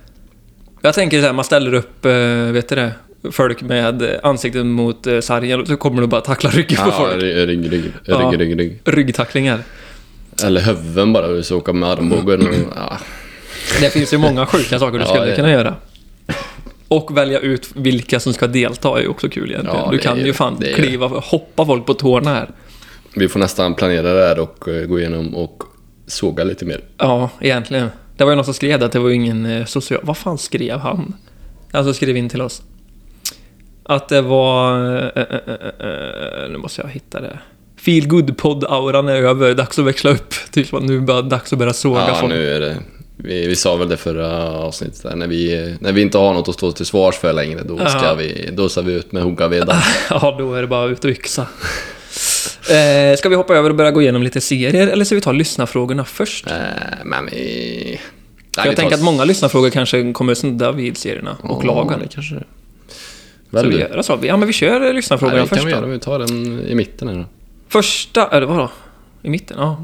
Speaker 2: Jag tänker såhär, man ställer upp, eh, vet du det? Folk med eh, ansikten mot eh, sargen och så kommer du bara tackla ryggen på
Speaker 1: Ja,
Speaker 2: folk.
Speaker 1: rygg, rygg, rygg,
Speaker 2: Ja.
Speaker 1: rygg, rygg, rygg.
Speaker 2: Ryggtacklingar.
Speaker 1: Eller höven bara, så åka med armbågen och... Ja.
Speaker 2: Det finns ju många sjuka saker du
Speaker 1: Ja,
Speaker 2: skulle
Speaker 1: det-
Speaker 2: kunna göra. Och välja ut vilka som ska delta är ju också kul egentligen.
Speaker 1: Ja,
Speaker 2: du
Speaker 1: det
Speaker 2: kan
Speaker 1: är
Speaker 2: ju
Speaker 1: det.
Speaker 2: fan
Speaker 1: Det är
Speaker 2: kliva, hoppa folk på tårna här.
Speaker 1: Vi får nästan planera det här och eh, gå igenom och såga lite mer.
Speaker 2: Ja, egentligen. Det var ju någon som skrev att det var ju ingen eh, social... Vad fan skrev han? Han som skrev in till oss. Att det var... eh, eh, eh, eh, Nu måste jag hitta det. Feel good podd auran är över, dags att växla upp. Typ som att nu är det bara dags att börja såga
Speaker 1: Ja,
Speaker 2: folk.
Speaker 1: nu är det... Vi, vi sa väl det förra avsnittet, där, när vi, när vi inte har något att stå till svars för längre, då ska
Speaker 2: Ja.
Speaker 1: vi, då ska vi ut med hoggavedan.
Speaker 2: Ja, då är det bara ut och yxa. Eh, ska vi hoppa över och börja gå igenom lite serier, eller ska vi ta lyssnarfrågorna först?
Speaker 1: Eh, men vi...
Speaker 2: För jag tänker att många lyssnarfrågor kanske kommer att snudda vid serierna och lagen.
Speaker 1: det kanske det
Speaker 2: Så
Speaker 1: Väl
Speaker 2: vi
Speaker 1: du?
Speaker 2: gör så. Ja, men vi kör eh, lyssnarfrågorna
Speaker 1: Nej, det
Speaker 2: först
Speaker 1: kan vi
Speaker 2: då.
Speaker 1: göra. Vi tar den i mitten här då.
Speaker 2: Första, eller vadå? I mitten? Ja.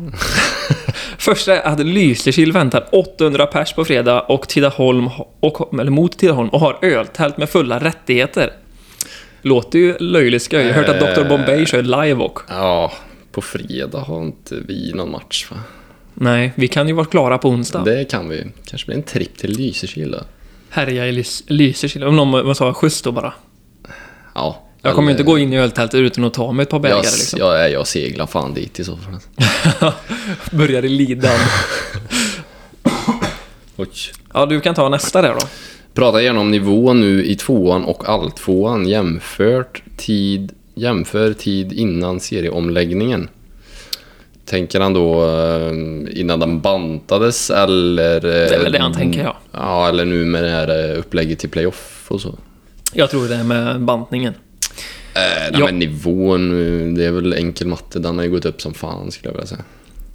Speaker 2: Första är att Lysekil väntar 800 pers på fredag och Tidaholm, ha- och, eller mot Tidaholm och har öltält med fulla rättigheter. Låter ju löjligt skoj. Jag har hört att Dr. Bombay kör live och.
Speaker 1: Ja, på fredag har inte vi någon match va?
Speaker 2: Nej, vi kan ju vara klara på onsdag.
Speaker 1: Det kan vi. Kanske blir en tripp till Lysekil då.
Speaker 2: Härja i Lys- Lysekil. Om någon vad sa jag, skjuts då bara.
Speaker 1: Ja.
Speaker 2: Jag kommer ju inte
Speaker 1: eller-
Speaker 2: gå in i öltältet utan att ta mig ett par bägare
Speaker 1: jag,
Speaker 2: liksom.
Speaker 1: jag, jag, seglar fan dit i så fall.
Speaker 2: Börjar i lidan.
Speaker 1: Oj.
Speaker 2: Ja, du kan ta nästa där då.
Speaker 1: Prata gärna om nivån nu i tvåan och alltvåan jämfört tid, jämför tid innan serieomläggningen. Tänker han då eh, innan den bantades eller... eh,
Speaker 2: Det är väl det han tänker, ja.
Speaker 1: Ja, eller nu med det här eh, upplägget till playoff och så. Eh,
Speaker 2: Jag tror det är med bantningen.
Speaker 1: Eh, nej,
Speaker 2: Ja.
Speaker 1: men nivån, eh, det är väl enkel matte. Den har ju gått upp som fan skulle jag vilja säga.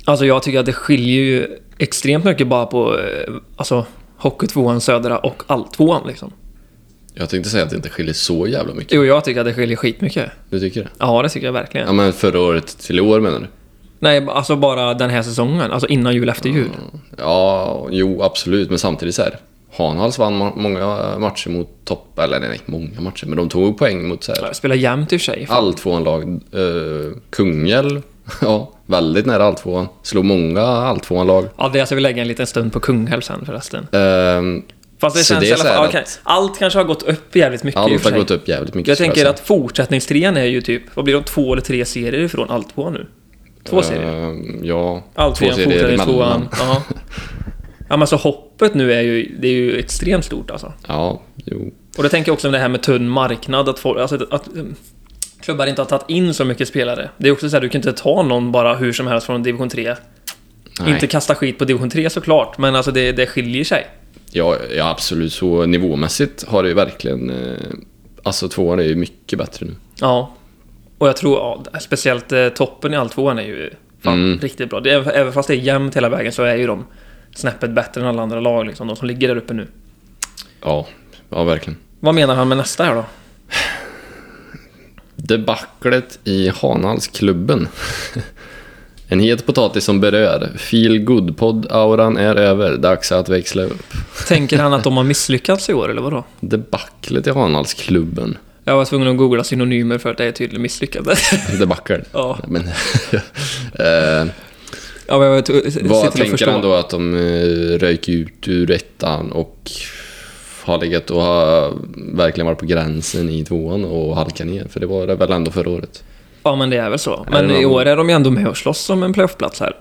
Speaker 2: Alltså jag tycker att det skiljer ju extremt mycket bara på eh, alltså, Hockeytvåan, Södra och Alltvåan liksom.
Speaker 1: Jag tänkte säga att det inte skiljer så jävla mycket.
Speaker 2: Jo, jag tycker att det skiljer skitmycket.
Speaker 1: Du tycker det?
Speaker 2: Ja, det tycker jag verkligen.
Speaker 1: Ja, men förra året till i år menar du?
Speaker 2: Nej, alltså bara den här säsongen. Alltså innan jul, efter jul.
Speaker 1: Ja, jo absolut, men samtidigt så här. Hanhals vann ma- många matcher mot topp... Eller nej, nej, många matcher, men de tog poäng mot så här,
Speaker 2: Jag spelar jämnt i och för sig. fan.
Speaker 1: alltvåanlag. Eh, Kungälv, ja, väldigt nära alltvåan. Slog många alltvåanlag.
Speaker 2: Ja, det ska vi lägga en liten stund på Kungälv sen förresten.
Speaker 1: Uh,
Speaker 2: Fast det
Speaker 1: Så
Speaker 2: känns
Speaker 1: det är
Speaker 2: i alla
Speaker 1: så här
Speaker 2: fall,
Speaker 1: att-
Speaker 2: okej, allt kanske har gått upp jävligt mycket i och
Speaker 1: allt
Speaker 2: för
Speaker 1: har
Speaker 2: sig.
Speaker 1: gått upp jävligt mycket.
Speaker 2: Jag
Speaker 1: skulle
Speaker 2: tänker
Speaker 1: säga.
Speaker 2: att fortsättningstrean är ju typ, vad blir de, två eller tre serier ifrån Alltvåan nu? Två serier?
Speaker 1: Eh, ja,
Speaker 2: Allt
Speaker 1: två serier emellan.
Speaker 2: tvåan. Ja. ja men alltså hoppet nu är ju, det är ju extremt stort alltså.
Speaker 1: Ja, jo.
Speaker 2: Och det tänker jag också om det här med tunn marknad, att, folk, alltså, att eh, klubbar inte har tagit in så mycket spelare. Det är också så här, du kan inte ta någon bara hur som helst från division 3.
Speaker 1: Nej.
Speaker 2: Inte kasta skit på division 3 såklart, men alltså det, det skiljer sig.
Speaker 1: Ja, ja, absolut. Så nivåmässigt har det ju verkligen... eh, alltså tvåan är ju mycket bättre nu.
Speaker 2: Ja. Och jag tror, ja, speciellt eh, toppen i alltvåan är ju fan
Speaker 1: Mm.
Speaker 2: riktigt bra. Det, är- även fast det är jämnt hela vägen så är ju de snäppet bättre än alla andra lag, liksom, de som ligger där uppe nu.
Speaker 1: Ja, ja verkligen.
Speaker 2: Vad menar han med nästa här då?
Speaker 1: Debaclet i Hanhalsklubben. En het potatis som berör. Feel good podd auran är över. Dags att växla upp.
Speaker 2: Tänker han att de har misslyckats i år, eller vadå?
Speaker 1: Debaclet i Hanhalsklubben.
Speaker 2: Jag var tvungen att googla synonymer för att det är tydligen misslyckande.
Speaker 1: Debacle.
Speaker 2: ja.
Speaker 1: Men, eh,
Speaker 2: ja, men jag t- sitter
Speaker 1: vad
Speaker 2: och
Speaker 1: tänker
Speaker 2: förstår.
Speaker 1: han då att de eh, röjk ut ur ettan och har legat och har verkligen varit på gränsen i tvåan och halkat ner? För det var det väl ändå förra året?
Speaker 2: Ja, men det är väl så.
Speaker 1: Är
Speaker 2: Men
Speaker 1: det
Speaker 2: i
Speaker 1: någon-
Speaker 2: år är de ju ändå med och slåss om en playoffplats här.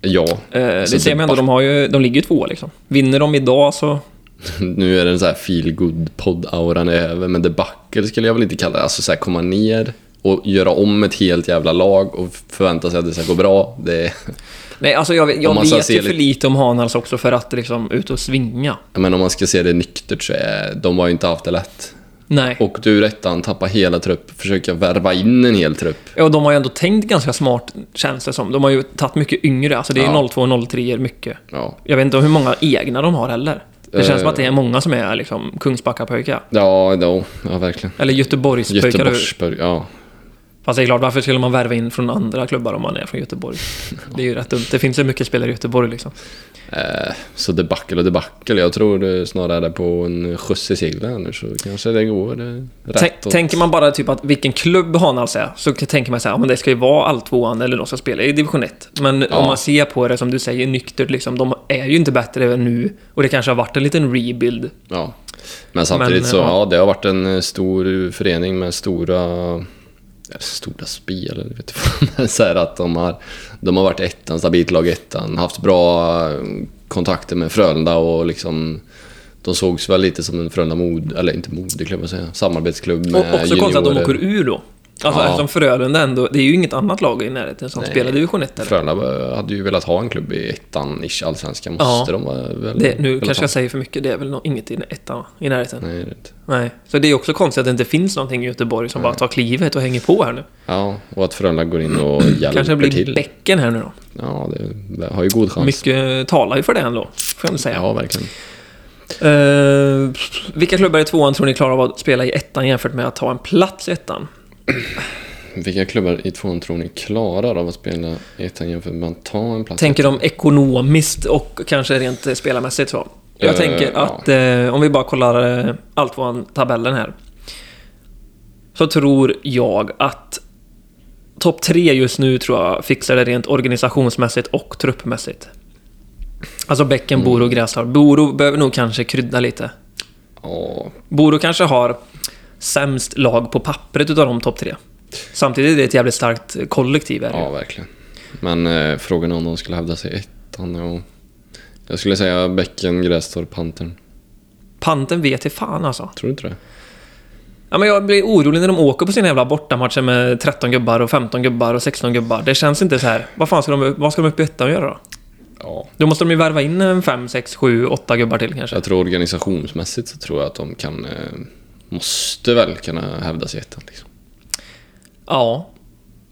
Speaker 1: Ja,
Speaker 2: Eh, det
Speaker 1: Så
Speaker 2: ser man ändå,
Speaker 1: det-
Speaker 2: de, har ju, de ligger ju två liksom. Vinner de idag så...
Speaker 1: Nu är den så här feel good podd auran är över, men debacle skulle jag väl inte kalla det. Alltså så här komma ner och göra om ett helt jävla lag och förvänta sig att det ska gå bra. Det är,
Speaker 2: Nej, alltså jag, vet-
Speaker 1: Om
Speaker 2: jag
Speaker 1: man ska
Speaker 2: vet
Speaker 1: se
Speaker 2: ju för
Speaker 1: lite-
Speaker 2: lite om Hanals också för att liksom ut och svinga.
Speaker 1: jag menar, om man ska se det nyktert så är de har ju inte haft det lätt.
Speaker 2: Nej. Och,
Speaker 1: Och du ettan, tappa hela trupp, försöka värva in en hel trupp.
Speaker 2: och de har ju ändå tänkt ganska smart, känns det som. De har ju tagit mycket yngre, alltså det är
Speaker 1: Ja.
Speaker 2: 02 och 03 mycket.
Speaker 1: Ja,
Speaker 2: Jag vet inte hur många egna de har heller. Det känns
Speaker 1: Eh.
Speaker 2: som att det är många som är liksom Kungsbackapöjkar.
Speaker 1: ja, ja, ja verkligen.
Speaker 2: Eller Göteborgspöjkar.
Speaker 1: Göteborgsburg, ja.
Speaker 2: Fast det är klart, varför skulle man värva in från andra klubbar om man är från Göteborg? Det är ju rätt dumt. Det finns ju mycket spelare i Göteborg liksom.
Speaker 1: Eh, Så debacle och debacle. Jag tror det snarare är på en skjuts i seglen nu så kanske det går eh, rätt
Speaker 2: Tänk,
Speaker 1: åt-
Speaker 2: Tänker man bara typ att vilken klubb Hanals är, så k- tänker man så här, ja, men det ska ju vara alltvåan eller de ska spela i division 1. Men
Speaker 1: Ja.
Speaker 2: om man ser på det som du säger nyktert, liksom, de är ju inte bättre än nu. Och det kanske har varit en liten rebuild.
Speaker 1: Ja. Men samtidigt
Speaker 2: Men,
Speaker 1: så,
Speaker 2: ja.
Speaker 1: ja. det har varit en eh, stor förening med stora... ja, Stora spel, eller vet du Men så här att de har, de har varit ettan, stabilt lag i ettan, haft bra eh, kontakter med Frölunda och liksom... De sågs väl lite som en Frölunda mod, eller inte moderklubb, vad säger jag, samarbetsklubb med
Speaker 2: Och också konstigt att de
Speaker 1: juniorer.
Speaker 2: åker ur då. Alltså
Speaker 1: Ja.
Speaker 2: eftersom Frölunda ändå, det är ju inget annat lag i närheten som
Speaker 1: Nej.
Speaker 2: spelar division 1 eller?
Speaker 1: Frölunda hade ju velat ha en klubb i ettan, ish, allsvenskan. Måste
Speaker 2: Ja.
Speaker 1: de ha väl
Speaker 2: Det, nu
Speaker 1: velat
Speaker 2: kanske
Speaker 1: ha.
Speaker 2: jag säger för mycket, det är väl nå- inget i ettan i närheten.
Speaker 1: Nej, det är det inte.
Speaker 2: Nej. Så det är också konstigt att det inte finns någonting i Göteborg som bara
Speaker 1: Mm.
Speaker 2: tar klivet och hänger på här nu.
Speaker 1: Ja, och att Frölunda går in och hjälper
Speaker 2: Kanske det blir
Speaker 1: till.
Speaker 2: bäcken här nu då.
Speaker 1: Ja, det har ju god chans.
Speaker 2: Mycket talar ju för det ändå, får jag ändå säga.
Speaker 1: Ja, verkligen.
Speaker 2: Eh, vilka klubbar i tvåan tror ni klarar av att spela i ettan jämfört med att ta en plats i ettan?
Speaker 1: Vilka klubbar i tvåan tror ni klarar av att spela i ettan jämfört med att ta en plats?
Speaker 2: Tänker de ekonomiskt och kanske rent eh, spelarmässigt så? Jag
Speaker 1: Eh,
Speaker 2: tänker
Speaker 1: ja.
Speaker 2: att eh, om vi bara kollar eh, Alltvåan-tabellen här. Så tror jag att topp tre just nu tror jag fixar det rent organisationsmässigt och truppmässigt. Alltså Bäcken, Boro
Speaker 1: Mm.
Speaker 2: och Grästorp. Boro behöver nog kanske krydda lite.
Speaker 1: Ja,
Speaker 2: Boro kanske har sämst lag på pappret utav de topp tre. Samtidigt är det ett jävligt starkt kollektiv. Här.
Speaker 1: ja, verkligen. Men eh, frågan är om de skulle hävda sig i ettan. Och... Jag skulle säga Bäcken, Grästorp, Pantern.
Speaker 2: Panten vet i fan alltså.
Speaker 1: Tror du inte det?
Speaker 2: Ja, men jag blir orolig när de åker på sina jävla bortamatcher med 13 gubbar och 15 gubbar och 16 gubbar. Det känns inte så här. Vad fan ska de, vad ska de upp i ettan och göra då?
Speaker 1: Ja.
Speaker 2: Då måste de ju värva in en 5, 6, 7, 8 gubbar till kanske.
Speaker 1: Jag tror organisationsmässigt så tror jag att de kan... Eh, måste väl kunna hävda sig i ettan. Liksom.
Speaker 2: Ja,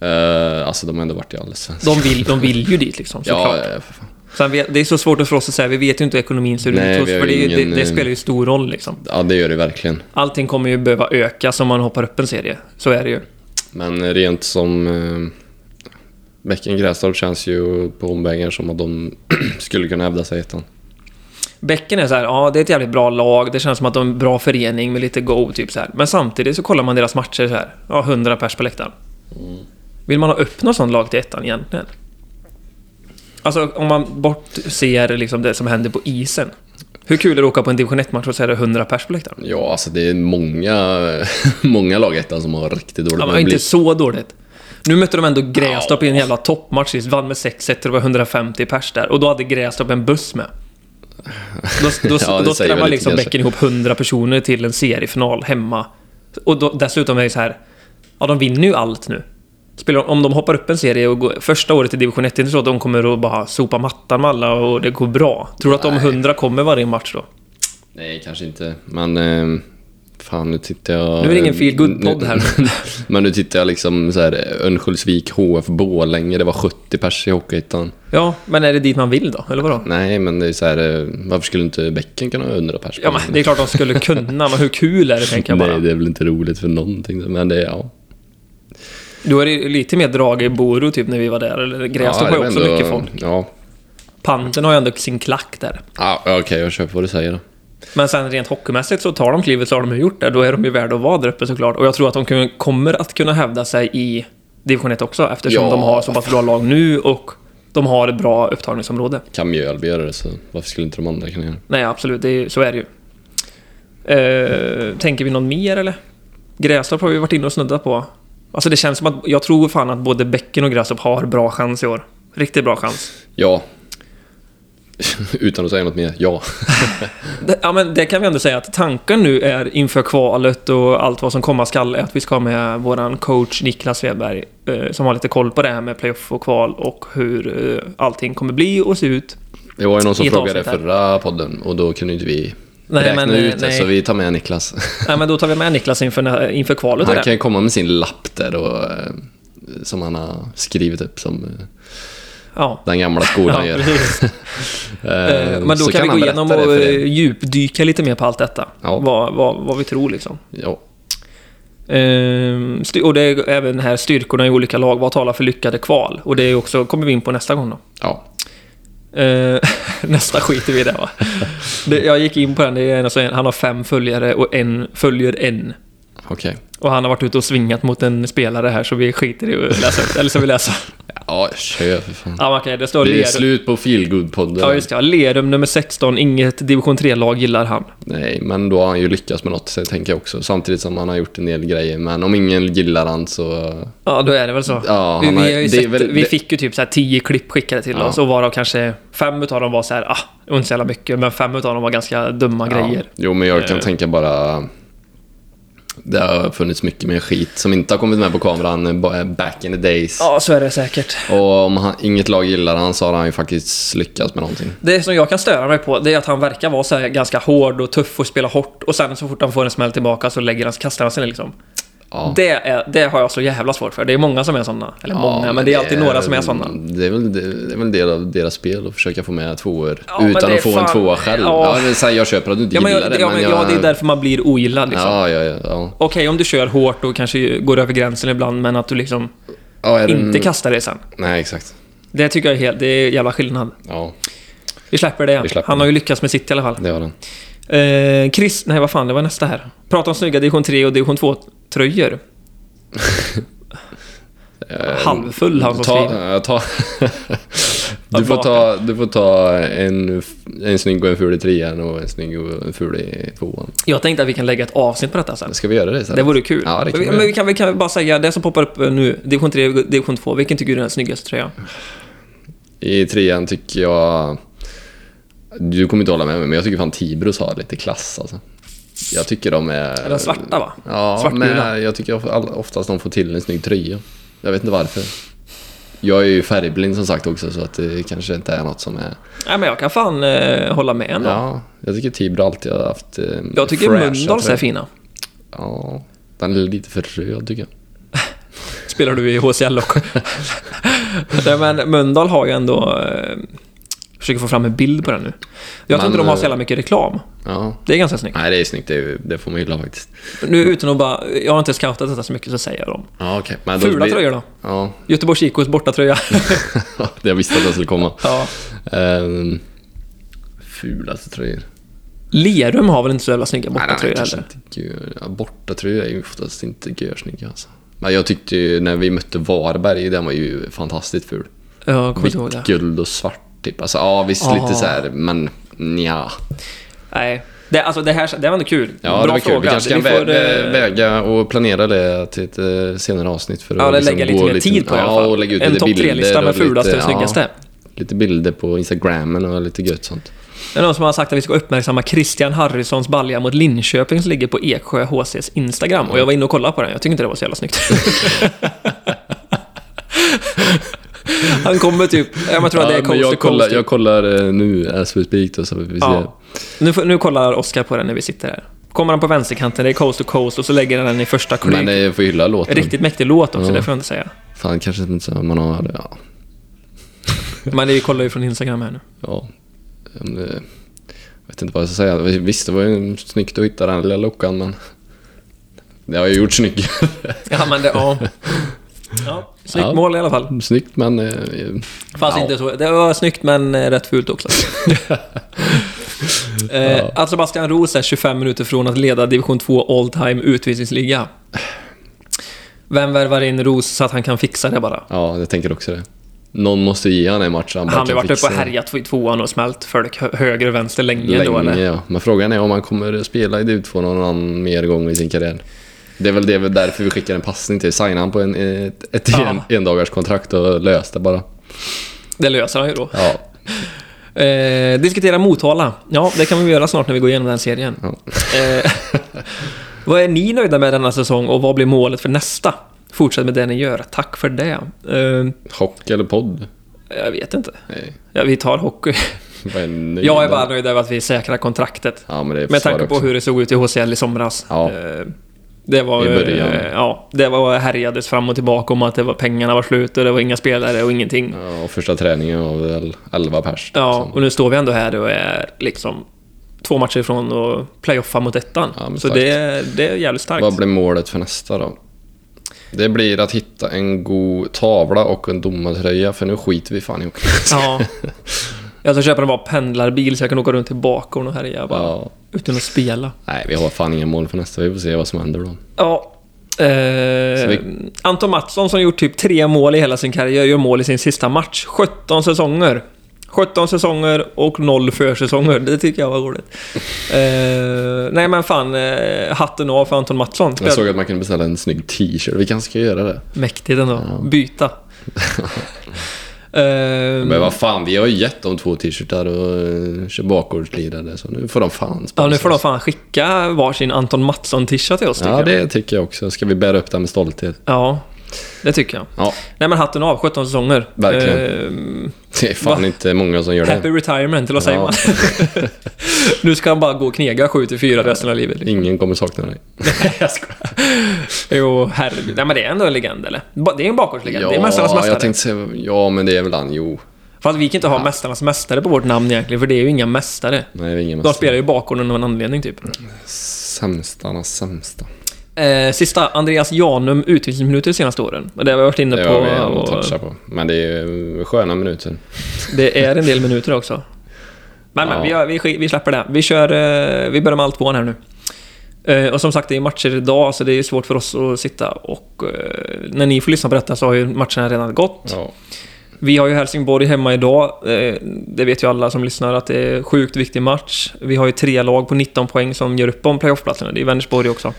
Speaker 1: Eh, alltså de har ändå varit i Allsvenskan.
Speaker 2: de vill, de vill ju dit liksom såklart.
Speaker 1: Ja, eh, för fan.
Speaker 2: Sen vet, det är så svårt för oss att säga. Vi vet ju inte hur ekonomin ser
Speaker 1: Nej,
Speaker 2: ut. hos-
Speaker 1: vi har
Speaker 2: För det, är ju-
Speaker 1: ingen,
Speaker 2: det, det
Speaker 1: eh,
Speaker 2: spelar ju stor roll liksom.
Speaker 1: ja, det gör det verkligen.
Speaker 2: Allting kommer ju behöva öka om man hoppar upp en serie. Så är det ju.
Speaker 1: Men rent som... Eh, Bäcken Grästorp känns ju på omvägar som att de skulle kunna hävda sig i ettan.
Speaker 2: Bäcken är så här, ja det är ett jävligt bra lag, det känns som att de är en bra förening med lite go, typ så här. Men samtidigt så kollar man deras matcher så här, ja 100 pers på läktaren. Vill man ha upp något sånt lag till ettan egentligen? Alltså om man bortser liksom det som händer på isen. Hur kul är det att åka på en division 1-match och så är det 100 pers på läktaren?
Speaker 1: Ja, alltså det är många, många lag i ettan som har riktigt dåligt ja,
Speaker 2: Ja, men inte
Speaker 1: publik.
Speaker 2: så dåligt. Nu mötte de ändå Grästorp i en jävla toppmatch sist, vann med 6-1 och det var 150 pers där. Och då hade Grästorp en buss med. Då, då,
Speaker 1: Ja, det säger
Speaker 2: då skrämmer
Speaker 1: väl
Speaker 2: liksom
Speaker 1: lite,
Speaker 2: Bäcken ihop 100 personer till en seriefinal hemma. Och då, dessutom är det så här, ja de vinner ju allt nu. Spelar, om de hoppar upp en serie och går första året i division 1, det är inte så att de kommer att bara sopa mattan med alla och det går bra. Tror du att de
Speaker 1: Nej.
Speaker 2: 100 kommer varje match då?
Speaker 1: Nej, kanske inte. Men... Eh, fan, nu tittar jag...
Speaker 2: Nu är det ingen feel good podd här.
Speaker 1: men nu tittar jag liksom så här, Örnsköldsvik, HF, Borlänge. Det var 70 pers i Hockeyettan.
Speaker 2: Ja, men är det dit man vill då? Eller vadå?
Speaker 1: Nej, men det är så här... eh, Varför skulle inte Bäcken kunna ha 100 pers? på
Speaker 2: Ja, men det är klart de skulle kunna, men hur kul är det tänker jag bara.
Speaker 1: Nej, det är väl inte roligt för någonting. Men det, ja.
Speaker 2: Då är det ju lite mer drag i Boro typ när vi var där, eller Grästorp har
Speaker 1: det
Speaker 2: ju
Speaker 1: var
Speaker 2: också
Speaker 1: ändå-
Speaker 2: mycket folk.
Speaker 1: Ja,
Speaker 2: Panten har ju ändå sin klack där.
Speaker 1: ja okej, jag köper vad du säger då.
Speaker 2: Men sen rent hockeymässigt så tar de klivet så har de ju gjort det. Då är de ju värda att vara där uppe såklart. Och jag tror att de kun- kommer att kunna hävda sig i division 1 också eftersom
Speaker 1: Ja.
Speaker 2: de har så pass bra lag nu och de har ett bra upptagningsområde.
Speaker 1: Kan Mjölby göra det så varför skulle inte de andra kunna göra det?
Speaker 2: Nej, absolut. Det är, så är det ju. Eh, tänker vi någon mer eller? Grästorp har vi varit inne och snuddat på. Alltså det känns som att jag tror fan att både Bäcken och Grästorp har bra chans i år. Riktigt bra chans.
Speaker 1: Ja. Utan att säga något mer, ja.
Speaker 2: Det- Ja, men det kan vi ändå säga att tanken nu är inför kvalet och allt vad som komma skall är att vi ska ha med våran coach Niklas Svedberg eh, som har lite koll på det här med playoff och kval och hur eh, allting kommer bli och se ut.
Speaker 1: Det var ju någon som
Speaker 2: I ett
Speaker 1: frågade
Speaker 2: avsnitt här.
Speaker 1: förra podden och då kunde inte vi
Speaker 2: Nej,
Speaker 1: räkna
Speaker 2: men, eh,
Speaker 1: ut det,
Speaker 2: nej.
Speaker 1: så vi tar med Niklas.
Speaker 2: Nej, men då tar vi med Niklas inför, nä- inför kvalet. och
Speaker 1: Han
Speaker 2: det.
Speaker 1: kan ju komma med sin lapp där och, eh, som han har skrivit upp som eh,
Speaker 2: Ja.
Speaker 1: den gamla skolan
Speaker 2: Ja,
Speaker 1: gör.
Speaker 2: precis.
Speaker 1: Eh,
Speaker 2: Eh, Men då
Speaker 1: så
Speaker 2: kan, vi
Speaker 1: han
Speaker 2: gå igenom
Speaker 1: berätta
Speaker 2: och
Speaker 1: det för er.
Speaker 2: eh, djupdyka lite mer på allt detta.
Speaker 1: Ja.
Speaker 2: Vad, vad, vad vi tror liksom.
Speaker 1: Ja,
Speaker 2: Ehm, sty- och det är även här styrkorna i olika lag. Vad talar för lyckade kval? Och det är också, kommer vi in på nästa gång då.
Speaker 1: ja.
Speaker 2: Eh, nästa skiter vi i det va? Det, jag gick in på den, det är en, alltså en, han har fem följare och en följer en.
Speaker 1: okej.
Speaker 2: Och han har varit ute och svingat mot en spelare här så vi skiter i att läsa upp Eller så vi läser.
Speaker 1: Ja, kör för fan.
Speaker 2: Ja, men okej, det står
Speaker 1: Det är
Speaker 2: Lerum.
Speaker 1: slut på feelgood-podden.
Speaker 2: Ja, just det. ja. Lerum nummer 16. Inget division 3-lag gillar han.
Speaker 1: Nej, men då har han ju lyckats med något, så tänker jag också. Samtidigt som han har gjort en del grejer. Men om ingen gillar han så...
Speaker 2: Ja, då är det väl så.
Speaker 1: Ja,
Speaker 2: vi,
Speaker 1: han
Speaker 2: vi,
Speaker 1: har-
Speaker 2: har ju
Speaker 1: det är
Speaker 2: sett,
Speaker 1: väl-
Speaker 2: vi
Speaker 1: det-
Speaker 2: fick ju typ så här 10 klipp skickade till
Speaker 1: Ja.
Speaker 2: oss och varav kanske fem utav dem var så här, ah, det var inte så jävla mycket, men fem utav dem var ganska dumma grejer.
Speaker 1: Jo, men jag kan tänka bara... Det har funnits mycket mer skit som inte har kommit med på kameran eh, ba- back in the days.
Speaker 2: Ja, så är det säkert.
Speaker 1: Och om han, inget lag gillar han så har han ju faktiskt lyckats med någonting.
Speaker 2: Det som jag kan störa mig på, det är att han verkar vara så här ganska hård och tuff och spela hårt och sen så fort han får en smäll tillbaka så lägger han, kastar han sig ner liksom.
Speaker 1: Ja.
Speaker 2: Det, är, det har jag så jävla svårt för. Det är många som är sådana. Eller
Speaker 1: Ja,
Speaker 2: många, men det är alltid några som är sådana.
Speaker 1: Det är, väl, det, det är väl en del av deras spel att försöka få med tvåor
Speaker 2: Ja, men
Speaker 1: utan
Speaker 2: det är
Speaker 1: att få en
Speaker 2: fan-
Speaker 1: tvåa själv.
Speaker 2: ja.
Speaker 1: Ja. men så här, jag köper att du inte
Speaker 2: Ja, men,
Speaker 1: gillar
Speaker 2: jag,
Speaker 1: det,
Speaker 2: ja, men, ja, det är
Speaker 1: jag-
Speaker 2: därför man blir ogillad liksom.
Speaker 1: Ja, ja, ja. ja.
Speaker 2: Okej, om du kör hårt och kanske går över gränsen ibland, men att du liksom
Speaker 1: ja är det en-
Speaker 2: inte kastar det sen.
Speaker 1: Nej, exakt.
Speaker 2: Det tycker jag är helt... Det är jävla skillnad.
Speaker 1: Ja,
Speaker 2: Vi släpper det.
Speaker 1: Vi släpper
Speaker 2: han
Speaker 1: det.
Speaker 2: har ju lyckats med sitt i alla fall.
Speaker 1: det var den.
Speaker 2: Eh, Chris... Nej, vad fan, det var nästa här. Prata om snygga division 3 och division 2-tröjor. Halvfull han som skriver.
Speaker 1: Eh, Ta, ta, du,
Speaker 2: Vad
Speaker 1: får
Speaker 2: bra.
Speaker 1: ta, du får ta en, en snygg och en ful i trean och en snygg och en ful i tvåan.
Speaker 2: Jag tänkte att vi kan lägga ett avsnitt på detta sen.
Speaker 1: Ska vi göra det sen?
Speaker 2: Det vore kul.
Speaker 1: Ja, det kan vi
Speaker 2: men vi,
Speaker 1: göra.
Speaker 2: men vi kan, vi kan väl bara säga, det som poppar upp nu, division 3 och division 2, vilken tycker du är den snyggaste tröjan?
Speaker 1: I trean tycker jag... Du kommer inte hålla med mig, men jag tycker fan Tibros har lite klass alltså. Jag tycker de är...
Speaker 2: Är den svarta va?
Speaker 1: Ja,
Speaker 2: Svartgula.
Speaker 1: men jag tycker of- all- oftast de får till en snygg tröja. Jag vet inte varför. Jag är ju färgblind som sagt också, så att det kanske inte är något som är...
Speaker 2: Nej men jag kan fan eh, hålla med ändå.
Speaker 1: Ja, jag tycker Tibro alltid har haft... Eh,
Speaker 2: Jag tycker
Speaker 1: fräscha
Speaker 2: Mölndals är
Speaker 1: tröjor.
Speaker 2: fina.
Speaker 1: Ja, den är lite för röd tycker jag.
Speaker 2: Spelar du i HCL också? Nej men Mölndal har ju ändå... Eh, försöker få fram en bild på den nu. Jag
Speaker 1: Men,
Speaker 2: tror inte de har så
Speaker 1: eh,
Speaker 2: jävla mycket reklam.
Speaker 1: Ja.
Speaker 2: Det är ganska snyggt.
Speaker 1: Nej, det är snyggt. Det, är, ju- det får man gilla faktiskt.
Speaker 2: Nu utan att bara... Jag har inte scoutat detta så mycket så säger jag dem.
Speaker 1: Ja, okej. Men då
Speaker 2: Fula
Speaker 1: blir-
Speaker 2: tröjor då?
Speaker 1: Ja,
Speaker 2: Göteborgs IKs bortatröja.
Speaker 1: det jag visste att den skulle komma.
Speaker 2: ja.
Speaker 1: Ehm, fulaste tröjor.
Speaker 2: Lerum har väl inte så jävla snygga
Speaker 1: Nej, nej,
Speaker 2: bortatröjor
Speaker 1: kanske
Speaker 2: heller?
Speaker 1: inte gör- ja, Bortatröjor är ju oftast inte görsnygga alltså. Men jag tyckte ju när vi mötte Varberg, den var ju fantastiskt ful.
Speaker 2: Ja, Jag kommer inte ihåg det.
Speaker 1: Vitt, guld och svart typ. Alltså ja, visst
Speaker 2: Aha.
Speaker 1: lite så här, men nja.
Speaker 2: Nej. Det, alltså det här det var ändå kul.
Speaker 1: Ja, det var kul. Vi kanske kan
Speaker 2: Vi får,
Speaker 1: vä-
Speaker 2: eh,
Speaker 1: väga och planera det till ett eh, senare avsnitt för att
Speaker 2: ja, eller
Speaker 1: liksom
Speaker 2: lägga
Speaker 1: gå
Speaker 2: lite mer tid på i alla
Speaker 1: Ja, och
Speaker 2: fall.
Speaker 1: lägga ut
Speaker 2: En
Speaker 1: lite
Speaker 2: topp
Speaker 1: bilder
Speaker 2: tre-lista med
Speaker 1: och lite-
Speaker 2: fulaste och
Speaker 1: ja,
Speaker 2: snyggaste.
Speaker 1: Lite bilder på instagrammen och lite gött sånt.
Speaker 2: Det är någon som har sagt att vi ska uppmärksamma Christian Harrisons balja mot Linköping som ligger på Eksjö HCs Instagram. Och jag var inne och kollade på den. Jag tyckte inte det var så jävla snyggt. Han kommer typ... Jag tror att det är
Speaker 1: Ja, men
Speaker 2: coast to
Speaker 1: jag, kollar,
Speaker 2: coast.
Speaker 1: jag
Speaker 2: typ.
Speaker 1: kollar eh, nu as we speak då, så vi får se.
Speaker 2: Ja. Nu, får- nu kollar Oskar på den när vi sitter här. Kommer han på vänsterkanten, det är coast to coast och så lägger han den i första
Speaker 1: Men eh,
Speaker 2: klyk.
Speaker 1: jag får hylla låten.
Speaker 2: Riktigt mäktig låt också,
Speaker 1: Ja.
Speaker 2: det får jag inte säga.
Speaker 1: Fan, kanske inte så man har... Ja.
Speaker 2: Men vi kollar ju från Instagram här nu.
Speaker 1: ja. Ehm, eh, vet inte vad jag ska säga. Visst, det var ju snyggt att hitta den lilla luckan, men... Det har ju gjort snyggt.
Speaker 2: Ja, men det... Ja. ja snyggt
Speaker 1: Ja.
Speaker 2: mål i alla fall.
Speaker 1: snyggt, men... eh, eh,
Speaker 2: Fast
Speaker 1: ja.
Speaker 2: inte så. Det var snyggt men eh, rätt fult också. eh, att Sebastian Roos är 25 minuter från att leda division 2 all time utvisningsliga. Vem värvar in Roos så att han kan fixa det bara?
Speaker 1: Ja, jag tänker också det. Någon måste ge han en match. bara
Speaker 2: Han har ju
Speaker 1: kan
Speaker 2: varit uppe
Speaker 1: fixa
Speaker 2: och härjat i tvåan och smält folk hö- höger och vänster länge, då
Speaker 1: länge.
Speaker 2: eller?
Speaker 1: ja. Men frågan är om han kommer spela i DUT2 någon annan mer gång i sin karriär. Det är väl det är väl därför vi skickar en passning till. Signar han på en, ett, ett
Speaker 2: Ja.
Speaker 1: en, endagarskontrakt och lös det bara.
Speaker 2: Det löser han ju då.
Speaker 1: Ja.
Speaker 2: Eh, diskutera Motala. Ja, det kan vi göra snart när vi går igenom den serien. Eh, vad är ni nöjda med denna säsong och vad blir målet för nästa? Fortsätt med det ni gör. Tack för det. Eh,
Speaker 1: Hockey eller podd?
Speaker 2: jag vet inte.
Speaker 1: Nej.
Speaker 2: Ja, vi tar hockey.
Speaker 1: Vad är nöjd
Speaker 2: Jag är
Speaker 1: med?
Speaker 2: bara nöjd över att vi säkrar kontraktet.
Speaker 1: Ja, men det är
Speaker 2: Med
Speaker 1: försvar
Speaker 2: tanke på
Speaker 1: också.
Speaker 2: hur det såg ut i HCL i somras.
Speaker 1: Ja.
Speaker 2: Eh, Det var...
Speaker 1: I början.
Speaker 2: eh, Ja, det var härjades fram och tillbaka om att det var, pengarna var slut och det var inga spelare och ingenting.
Speaker 1: Ja, och första träningen var väl 11 pers.
Speaker 2: Ja,
Speaker 1: liksom.
Speaker 2: och nu står vi ändå här och är liksom två matcher ifrån och playoffa mot ettan.
Speaker 1: Ja, men
Speaker 2: så
Speaker 1: starkt.
Speaker 2: det, det är jävligt starkt.
Speaker 1: Vad blir målet för nästa då? Det blir att hitta en god tavla och en domartröja, för nu skiter vi fan i hockey.
Speaker 2: Ja. Jag ska köpa en bara pendlarbil så jag kan åka runt till Bakgården och härja bara.
Speaker 1: Ja.
Speaker 2: Utan att spela.
Speaker 1: Nej, vi har fan inga mål för nästa. Vi får se vad som händer då.
Speaker 2: Ja. Eh,
Speaker 1: Så vi-
Speaker 2: Anton Mattsson som gjort typ tre mål i hela sin karriär gör mål i sin sista match. 17 säsonger. 17 säsonger och noll försäsonger. Det tycker jag var roligt. eh, nej men fan, eh, hatten av för Anton Mattsson.
Speaker 1: Jag såg att man kunde beställa en snygg t-shirt. Vi kanske ska göra det.
Speaker 2: Mäktigt ändå.
Speaker 1: Ja.
Speaker 2: Byta. Ehm,
Speaker 1: Men vad fan, vi har ju gett dem två t-shirtar och eh, kör bakgårdslirare, så nu får de fan
Speaker 2: ja, nu får de
Speaker 1: oss.
Speaker 2: fan skicka varsin Anton Mattsson-tisha till oss tycker
Speaker 1: Ja,
Speaker 2: jag.
Speaker 1: det tycker jag också. Ska vi bära upp det med stolthet?
Speaker 2: Ja, det tycker jag.
Speaker 1: Ja,
Speaker 2: Nej men hatten av, 17 säsonger.
Speaker 1: Verkligen.
Speaker 2: Ehm,
Speaker 1: det är fan
Speaker 2: Va?
Speaker 1: inte många som gör
Speaker 2: happy
Speaker 1: det.
Speaker 2: retirement, eller vad säger
Speaker 1: Ja.
Speaker 2: man? nu ska han bara gå och knega 7-4 resten av livet.
Speaker 1: Ingen kommer sakna dig.
Speaker 2: jag skojar. Jo, herregud. Nej men det är ändå en legend eller? Ba- Det är en bakgårdslegend. det är Mästarnas
Speaker 1: Ja, jag
Speaker 2: Mästare.
Speaker 1: tänkte säga... Ja, men det är väl han. Jo.
Speaker 2: Fast vi kan inte ha Mästarnas Mästare på vårt namn egentligen, för det är ju inga mästare.
Speaker 1: Nej, det är ingen
Speaker 2: De
Speaker 1: mästare.
Speaker 2: spelar ju bakgården av en anledning typ.
Speaker 1: Sämstarnas sämsta.
Speaker 2: Eh, sista, Andreas Janum utvisningsminuter de senaste åren. Och det har vi varit inne
Speaker 1: Det
Speaker 2: på.
Speaker 1: har vi ändå
Speaker 2: och
Speaker 1: touchat på. Men det är eh, sköna minuter.
Speaker 2: det är en del minuter också. Men, men
Speaker 1: Ja.
Speaker 2: vi, har- vi, sk- vi släpper det. Vi, kör, eh, vi börjar med allt tvåan här nu. Eh, och som sagt, det är matcher idag, så det är svårt för oss att sitta och... Eh, när ni får lyssna på detta så har ju matcherna redan gått.
Speaker 1: Ja.
Speaker 2: Vi har ju Helsingborg hemma idag. Eh, det vet ju alla som lyssnar att det är en sjukt viktig match. Vi har ju tre lag på 19 poäng som gör upp om playoffplatserna. Det är Vänersborg också.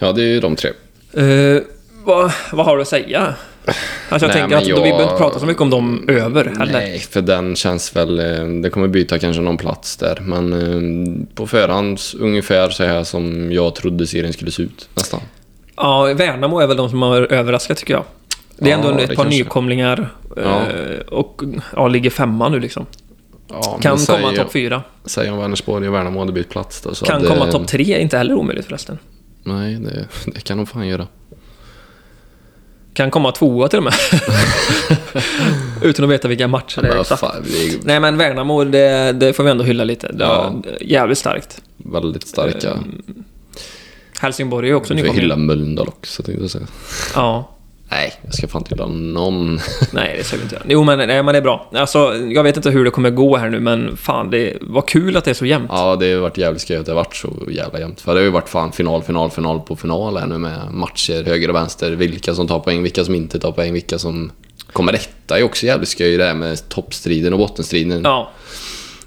Speaker 1: ja, det är ju de tre.
Speaker 2: Eh, vad, vad har du att säga? Alltså jag
Speaker 1: Nej,
Speaker 2: tänker
Speaker 1: men
Speaker 2: att då,
Speaker 1: jag-
Speaker 2: vi behöver inte prata så mycket om dem över heller.
Speaker 1: Nej, för den känns väl... eh, Det kommer byta kanske någon plats där. Men eh, på förhand ungefär så här som jag trodde serien skulle se ut. Nästan.
Speaker 2: Ja, Värnamo är väl de som har överraskat tycker jag. Det är
Speaker 1: Ja,
Speaker 2: ändå
Speaker 1: det
Speaker 2: ett par
Speaker 1: kanske.
Speaker 2: nykomlingar eh,
Speaker 1: Ja.
Speaker 2: och ja, ligger femma nu liksom.
Speaker 1: Ja,
Speaker 2: Kan komma
Speaker 1: säg,
Speaker 2: topp fyra.
Speaker 1: Säg om Vänersborg och Värnamo hade bytt plats då. Så
Speaker 2: Kan
Speaker 1: hade-
Speaker 2: komma topp tre, är inte heller omöjligt förresten.
Speaker 1: Nej, det, det kan de fan göra.
Speaker 2: Kan komma tvåa till och med. Utan att veta vilka matcher det är
Speaker 1: Men
Speaker 2: exakt.
Speaker 1: fan, det är
Speaker 2: Nej men Värnamo, det, det får vi ändå hylla lite. Det
Speaker 1: Ja.
Speaker 2: var jävligt starkt.
Speaker 1: väldigt starka.
Speaker 2: Helsingborg är ju också
Speaker 1: Vi får hylla
Speaker 2: nykomlingar.
Speaker 1: Mölndal också, tänkte jag säga.
Speaker 2: Ja.
Speaker 1: Nej, jag ska fan inte hylla någon.
Speaker 2: Nej, det ska vi inte göra. Jo, men, nej, men det är bra. Alltså, jag vet inte hur det kommer gå här nu, men fan, det var kul att det är så jämnt.
Speaker 1: Ja, det har varit jävligt skoj att det har varit så jävla jämnt. För det har ju varit fan final, final, final på final här nu med matcher höger och vänster. Vilka som tar poäng, vilka som inte tar poäng, vilka som kommer rätta är ju också jävligt skoj det här med toppstriden och bottenstriden.
Speaker 2: Ja,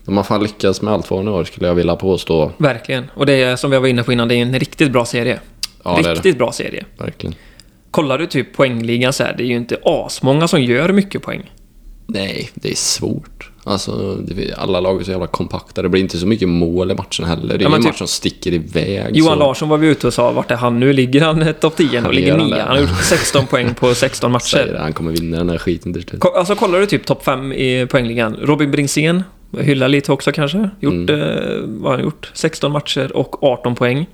Speaker 1: De har fan lyckats med allt vad nu år skulle jag vilja påstå.
Speaker 2: verkligen. Och det är, som vi var inne på innan, det är en riktigt bra serie.
Speaker 1: Ja, det är det.
Speaker 2: riktigt bra serie.
Speaker 1: Verkligen.
Speaker 2: Kollar du typ poängligan så här, det är ju inte asmånga som gör mycket poäng.
Speaker 1: Nej, det är svårt. Alltså, det, alla lag är så jävla kompakta. Det blir inte så mycket mål i matchen heller. Det är
Speaker 2: Ja,
Speaker 1: ju
Speaker 2: men
Speaker 1: en
Speaker 2: typ-
Speaker 1: match som sticker iväg.
Speaker 2: Johan
Speaker 1: så-
Speaker 2: Larsson var vi ute och sa, vart är han nu? Ligger han topp 10 och
Speaker 1: Han
Speaker 2: ligger
Speaker 1: gör
Speaker 2: 9?
Speaker 1: det.
Speaker 2: Han har gjort 16 poäng på 16
Speaker 1: Säger
Speaker 2: matcher.
Speaker 1: det, han kommer vinna den här skiten till slut.
Speaker 2: Ko- Alltså kollar du typ topp 5 i poängligan? Robin Bringsén, hylla lite också kanske. Gjort,
Speaker 1: Mm.
Speaker 2: eh, vad har han gjort? 16 matcher och 18 poäng.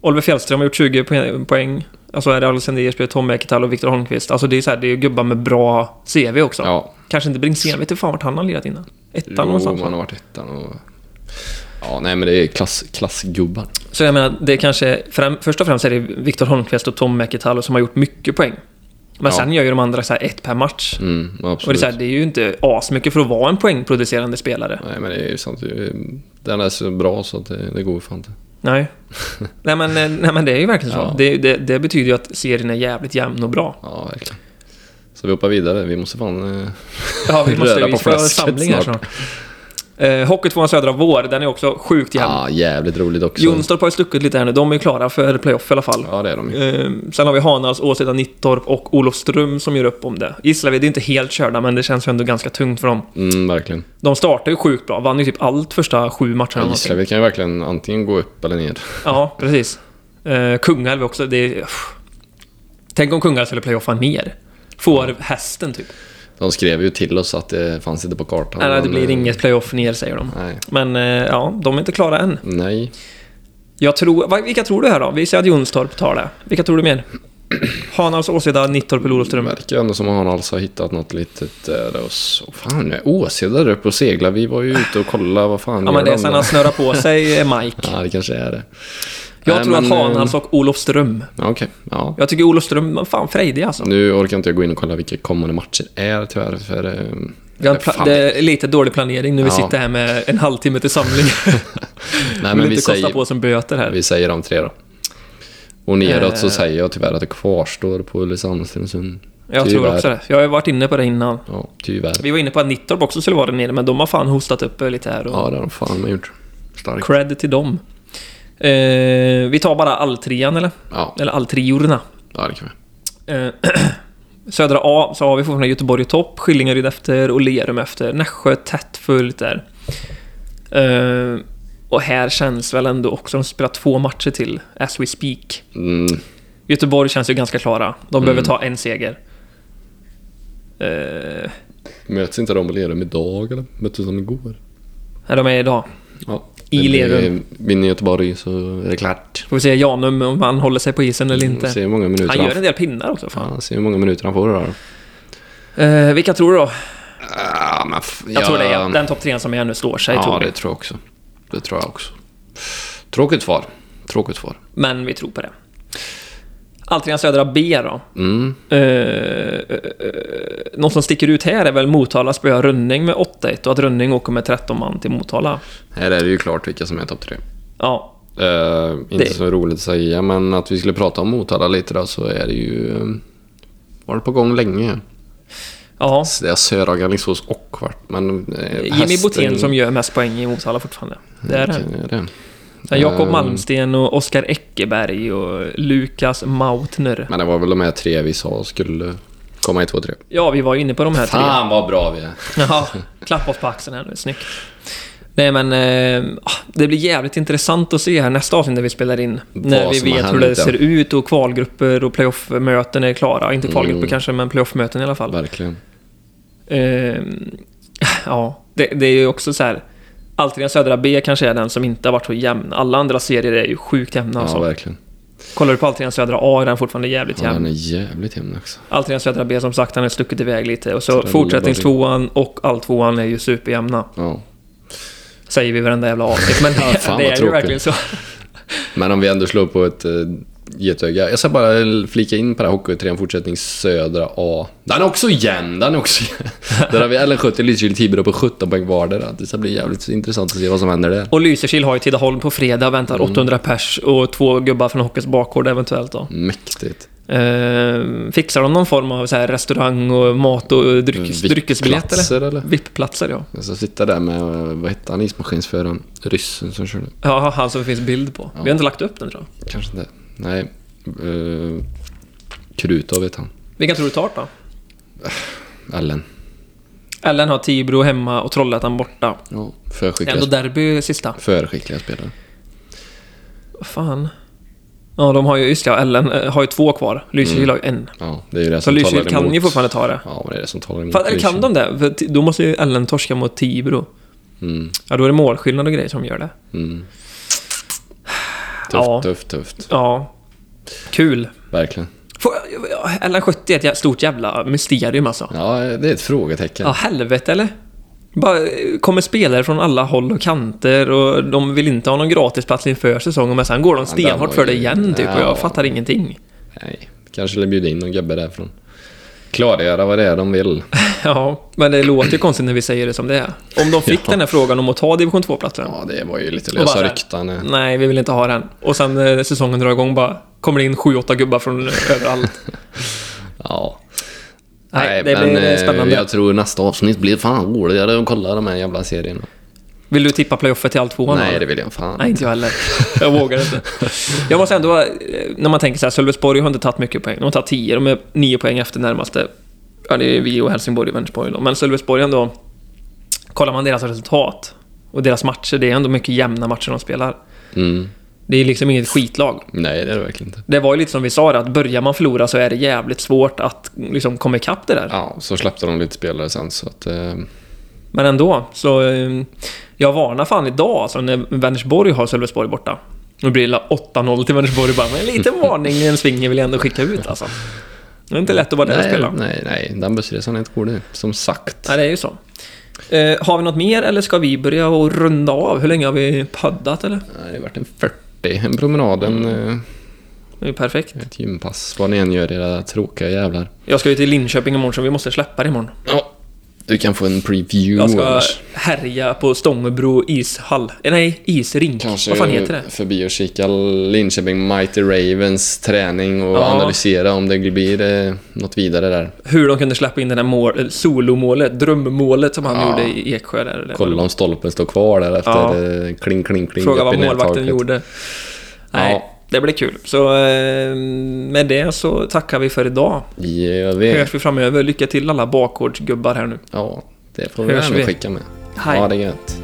Speaker 2: Oliver Fjällström har gjort 20 po- poäng. Alltså är det Alexander Ersby, Tom Eketall och Viktor Holmqvist. Alltså det är så här, det är ju gubbar med bra CV också.
Speaker 1: Ja,
Speaker 2: Kanske inte Bringsén, vet du fan vart han har lirat innan? Ettan
Speaker 1: jo,
Speaker 2: någonstans.
Speaker 1: man har varit ettan och... Ja, nej men det är klass, klassgubbar.
Speaker 2: Så jag menar, det kanske... Främ, först och främst är det Viktor Holmqvist och Tom Eketall som har gjort mycket poäng. Men
Speaker 1: Ja.
Speaker 2: sen gör ju de andra så här ett per match.
Speaker 1: Mm,
Speaker 2: Och det är,
Speaker 1: absolut.
Speaker 2: så här, det är ju inte asmycket för att vara en poängproducerande spelare.
Speaker 1: Nej men det är ju sant. Det är ju- Den är så bra så att det, det går ju fan inte.
Speaker 2: Nej. nej, men, eh, nej, men det är ju verkligen så.
Speaker 1: Ja.
Speaker 2: Det, det, det betyder ju att serien är jävligt jämn och bra.
Speaker 1: Ja, verkligen. Så vi hoppar vidare. Vi måste fan eh,
Speaker 2: Ja, vi måste
Speaker 1: röra
Speaker 2: vi
Speaker 1: på
Speaker 2: ska ha
Speaker 1: fläsket
Speaker 2: samling här
Speaker 1: snart.
Speaker 2: snart. Eh, Hockeytvåan Södra Vår, den är också sjukt jämn.
Speaker 1: Ja, ah, jävligt roligt också.
Speaker 2: Jonstorp har ju stuckit lite här nu. De är ju klara för playoff i alla fall.
Speaker 1: Ja, det är de ju.
Speaker 2: Eh, sen har vi Hanals, Åseda, Nittorp och Olofström som gör upp om det. Gislaved är inte helt körda, men det känns ju ändå ganska tungt för dem.
Speaker 1: Mm, verkligen.
Speaker 2: De startar ju sjukt bra. Vann ju typ allt första sju matcherna. eller någonting.
Speaker 1: Gislaved kan ju verkligen antingen gå upp eller ner.
Speaker 2: Ja, precis. Eh, Kungälv också. Det är, uff. Tänk om Kungälv skulle playoffa ner. Får hästen typ.
Speaker 1: De skrev ju till oss att det fanns inte på kartan.
Speaker 2: Nej, det
Speaker 1: men,
Speaker 2: blir
Speaker 1: eh,
Speaker 2: inget playoff ner säger de.
Speaker 1: Nej.
Speaker 2: Men eh, ja, de är inte klara än.
Speaker 1: Nej.
Speaker 2: Jag tror, va- vilka tror du här då? Vi säger att Jonstorp tar det. Vilka tror du mer? Hanals, Åseda, Nittorp eller
Speaker 1: Det
Speaker 2: Olofström?
Speaker 1: verkar ju ändå som att han alltså har hittat något litet eh, där och så. Fan, nu är Åseda där uppe och seglar. Vi var ju ute och kollade. Vad fan
Speaker 2: Ja
Speaker 1: gör
Speaker 2: men det är
Speaker 1: de
Speaker 2: sen
Speaker 1: där?
Speaker 2: han snurrar på sig eh, Mike.
Speaker 1: Ja, det kanske är det.
Speaker 2: Jag
Speaker 1: Nej,
Speaker 2: tror
Speaker 1: men,
Speaker 2: att Hanals och Olofström.
Speaker 1: eh, ja, Okej, ja.
Speaker 2: Jag tycker Olofström, men fan frejdig alltså.
Speaker 1: Nu orkar inte jag gå in och kolla vilka kommande matcher är tyvärr. För, eh,
Speaker 2: Vi har
Speaker 1: fan.
Speaker 2: pla- det är lite dålig planering när vi
Speaker 1: Ja.
Speaker 2: sitter här med en halvtimme till samling.
Speaker 1: Nej,
Speaker 2: Vill
Speaker 1: men vi
Speaker 2: inte kosta
Speaker 1: säger,
Speaker 2: på oss en böter här.
Speaker 1: vi säger de tre då. Och neråt så
Speaker 2: Eh.
Speaker 1: säger jag tyvärr att det kvarstår på Ulricehamn, Stenungsund.
Speaker 2: Jag tror
Speaker 1: Tyvärr.
Speaker 2: också det. Jag har ju varit inne på det innan.
Speaker 1: Ja, tyvärr.
Speaker 2: Vi var inne på att Nittorp också skulle vara där nere, men de har fan hostat upp eh, lite här. Och
Speaker 1: Ja, det har de fan med gjort. Starkt.
Speaker 2: Cred till dem. Eh, vi tar bara alltrean eller?
Speaker 1: Ja,
Speaker 2: Eller alltriorna.
Speaker 1: ja det kan vi.
Speaker 2: Eh, södra A så har vi fortfarande Göteborg i topp, Skillingaryd efter och Lerum efter. Nässjö tätt följt där. Eh, och här känns väl ändå också, de spelar två matcher till, as we speak.
Speaker 1: Mm,
Speaker 2: Göteborg känns ju ganska klara. De behöver ta en seger. Eh,
Speaker 1: möts inte de på Lerum idag eller? Möttes de igår?
Speaker 2: här de är idag.
Speaker 1: Ja.
Speaker 2: I
Speaker 1: Men det-
Speaker 2: Lerum.
Speaker 1: Vinner Göteborg så är det klart.
Speaker 2: Får vi se Janum om han håller sig på isen eller
Speaker 1: Mm, Vi får
Speaker 2: inte.
Speaker 1: Se hur många minuter
Speaker 2: Han gör en
Speaker 1: får.
Speaker 2: del pinnar också. Fan.
Speaker 1: Ja, se hur många minuter han får då. då.
Speaker 2: Eh, vilka tror du då?
Speaker 1: Ah, men f-
Speaker 2: Jag tror det är den topp trean som är nu slår sig.
Speaker 1: Ja,
Speaker 2: tror vi.
Speaker 1: det tror jag också. Det tror jag också. Tråkigt svar. Tråkigt svar.
Speaker 2: Men vi tror på det. Alltrean Södra B då.
Speaker 1: Mm.
Speaker 2: Eh, eh, eh, något som sticker ut här är väl Motala spöar Rönning med 8-1 och att Rönning åker med 13 man till Motala.
Speaker 1: Här är det ju klart vilka som är topp tre.
Speaker 2: Ja,
Speaker 1: Eh, inte
Speaker 2: Det-
Speaker 1: så roligt att säga, men att vi skulle prata om Motala lite då så är det ju... eh, Var det på gång länge.
Speaker 2: ja.
Speaker 1: Det är Sörhaga, Alingsås och Kvart, men... eh,
Speaker 2: Jimmy
Speaker 1: hästen-
Speaker 2: Botén som gör mest poäng i Motala fortfarande. Det är det.
Speaker 1: Vilken är det.
Speaker 2: Sen Jakob
Speaker 1: Eh,
Speaker 2: Malmsten och Oskar Eckeberg och Lukas Mautner.
Speaker 1: Men det var väl de här tre vi sa skulle komma i två, tre.
Speaker 2: Ja, vi var ju inne på de här tre.
Speaker 1: Fan vad bra vi är.
Speaker 2: Ja, klappa oss på axeln här nu, snyggt. Nej men, eh, ah, det blir jävligt intressant att se här nästa avsnitt när vi spelar in.
Speaker 1: Vad
Speaker 2: när vi
Speaker 1: som har
Speaker 2: vet hur
Speaker 1: hänt,
Speaker 2: det
Speaker 1: ja.
Speaker 2: ser ut och kvalgrupper och playoff-möten är klara. Inte kvalgrupper
Speaker 1: Mm.
Speaker 2: kanske, men playoff-möten i alla fall.
Speaker 1: Verkligen.
Speaker 2: Eh, ja, det, det är ju också så här. Alltid den södra B kanske är den som inte har varit så jämn. Alla andra serier är ju sjukt jämna.
Speaker 1: Ja,
Speaker 2: alltså.
Speaker 1: verkligen.
Speaker 2: Kollar du på Alltid den södra A är den fortfarande jävligt
Speaker 1: Ja,
Speaker 2: jämn.
Speaker 1: den är jävligt jämn också.
Speaker 2: Alltid den södra B som sagt, den har stuckit iväg lite. Och
Speaker 1: Så
Speaker 2: så
Speaker 1: den
Speaker 2: fortsättningstvåan och alltvåan är ju superjämna.
Speaker 1: Ja.
Speaker 2: Säger vi i varenda jävla avsnitt, men
Speaker 1: Ja,
Speaker 2: det,
Speaker 1: fan,
Speaker 2: det
Speaker 1: vad
Speaker 2: är ju
Speaker 1: tråkigt.
Speaker 2: verkligen så.
Speaker 1: Men om vi ändå slår på ett eh, getöga. Jag ska bara flika in på det här Hockeyetrean fortsättning södra A. Den är också jämn, den är också jämn. Där har vi LN70, Lysekil, Tibro på 17 poäng vardera. Det ska bli jävligt intressant att se vad som händer där.
Speaker 2: Och Lysekil har ju Tidaholm på fredag, väntar
Speaker 1: Mm.
Speaker 2: 800 pers och två gubbar från Hockeyns bakgård eventuellt då.
Speaker 1: Mäktigt.
Speaker 2: Eh, fixar de någon form av så här restaurang och mat och dryckes, dryckesbiljett eller?
Speaker 1: Mm, Vipplatser, eller?
Speaker 2: VIP-platser ja.
Speaker 1: Jag ska sitta där med, eh, vad hette han, ismaskinsföraren? Ryssen som körde.
Speaker 2: Ja, han som finns bild på. Vi har inte lagt upp den tror jag.
Speaker 1: Kanske inte. Nej. Uh, Krutov vet han.
Speaker 2: Vilka tror du tar då?
Speaker 1: Ellen.
Speaker 2: Ellen har Tibro hemma och Trollhättan borta.
Speaker 1: Ja.
Speaker 2: Det är
Speaker 1: Förskickliga,
Speaker 2: ändå derby sista.
Speaker 1: förskickliga spelare.
Speaker 2: Vad fan? Ja, de har ju, just ja, Ellen eh, har ju två kvar. Lysekil har ju en.
Speaker 1: Ja, det är ju det
Speaker 2: Så
Speaker 1: som Mm. talar
Speaker 2: Lysekil
Speaker 1: emot.
Speaker 2: kan ju fortfarande ta det.
Speaker 1: Ja, men det är det som talar emot.
Speaker 2: Fan, eller kan
Speaker 1: Lysekil.
Speaker 2: de det? För ti- då måste ju Ellen torska mot Tibro.
Speaker 1: Mm.
Speaker 2: Ja, då är det målskillnad och grejer som gör det.
Speaker 1: Mm. Tufft,
Speaker 2: Ja.
Speaker 1: tufft, tufft.
Speaker 2: Ja. Kul.
Speaker 1: Verkligen.
Speaker 2: Får, ja, Ellen 70 är ett jä- stort jävla mysterium alltså. Ja,
Speaker 1: Ja, det är ett frågetecken.
Speaker 2: helvete eller? Bara eh, kommer spelare från alla håll och kanter och de vill inte ha någon gratisplats inför säsongen men sen går de
Speaker 1: Ja, den
Speaker 2: stenhårt
Speaker 1: var
Speaker 2: för det
Speaker 1: ju-
Speaker 2: igen typ och
Speaker 1: Ja.
Speaker 2: jag fattar ingenting.
Speaker 1: Nej, kanske vill bjuda in någon gubbe därifrån. Klargöra vad det är de vill.
Speaker 2: Ja, men det låter ju konstigt när vi säger det som det är. Om de fick
Speaker 1: Ja.
Speaker 2: den här frågan om att ta division 2-platsen.
Speaker 1: Ja, det var ju lite
Speaker 2: Och bara Mm. så
Speaker 1: lösa
Speaker 2: här,
Speaker 1: rykten. eh.
Speaker 2: Nej, vi vill inte ha den. Och sen eh, säsongen drar igång bara kommer det in 7-8 gubbar från eh, överallt.
Speaker 1: Ja.
Speaker 2: Nej, det blir
Speaker 1: eh,
Speaker 2: spännande.
Speaker 1: Jag tror nästa avsnitt blir fan roligare att kolla de här jävla serierna.
Speaker 2: Vill du tippa playoffet till all tvåan?
Speaker 1: Nej,
Speaker 2: eller?
Speaker 1: det vill jag fan
Speaker 2: Nej, inte jag heller. Jag vågar inte. Jag måste ändå, eh, när man tänker så här, Sölvesborg har inte tagit mycket poäng. De har tagit 10, de är 9 poäng efter närmaste. Ja, det är vi och Helsingborg och Vänersborg då. Men Sölvesborg ändå, kollar man deras resultat och deras matcher, det är ändå mycket jämna matcher de spelar.
Speaker 1: Mm.
Speaker 2: Det är liksom inget skitlag.
Speaker 1: Nej, det är det verkligen inte.
Speaker 2: Det var ju lite som vi sa, att börjar man förlora så är det jävligt svårt att liksom komma ikapp det där.
Speaker 1: Ja, så släppte de lite spelare sen så att... Eh,
Speaker 2: Men ändå, så... eh, Jag varnar fan idag alltså, när Vänersborg har Sölvesborg borta. Nu blir det 8-0 till Vänersborg bara, men en liten varning i en svinger vill jag ändå skicka ut alltså. Det är inte lätt att vara där och
Speaker 1: nej,
Speaker 2: spela. Nej.
Speaker 1: nej, nej. Den bussresan är inte god nu. Som sagt.
Speaker 2: det är ju så. Eh, har vi något mer eller ska vi börja och runda av? Hur länge har vi poddat eller?
Speaker 1: Nej, det vart en 40. En promenad, en, eh,
Speaker 2: Det är ju perfekt.
Speaker 1: ett gympass. Vad ni än gör era tråkiga jävlar.
Speaker 2: Jag ska ju till Linköping imorgon så vi måste släppa det imorgon.
Speaker 1: Ja, du kan få en preview
Speaker 2: Jag ska
Speaker 1: annars.
Speaker 2: härja på Stångebro ishall. Eh, nej, isrink.
Speaker 1: Kanske
Speaker 2: Vad fan heter det?
Speaker 1: förbi och kika Linköping Mighty Ravens träning och
Speaker 2: Ja.
Speaker 1: analysera om det blir eh, något vidare där.
Speaker 2: Hur de kunde släppa in det där mål, eh, solomålet, drömmålet som han
Speaker 1: Ja.
Speaker 2: gjorde i Eksjö där. Eller?
Speaker 1: Kolla om stolpen står kvar där efter
Speaker 2: Ja.
Speaker 1: eh, kling, kling, kling.
Speaker 2: Fråga
Speaker 1: upp
Speaker 2: vad
Speaker 1: i nättaket.
Speaker 2: målvakten gjorde. Nej,
Speaker 1: Ja.
Speaker 2: det blir kul. Så eh, med det så tackar vi för idag.
Speaker 1: Gör vi.
Speaker 2: Hörs vi framöver. Lycka till alla bakgårdsgubbar här nu.
Speaker 1: Ja, det får vi
Speaker 2: Hörs
Speaker 1: även
Speaker 2: vi.
Speaker 1: skicka med.
Speaker 2: Hej.
Speaker 1: Ha det gött.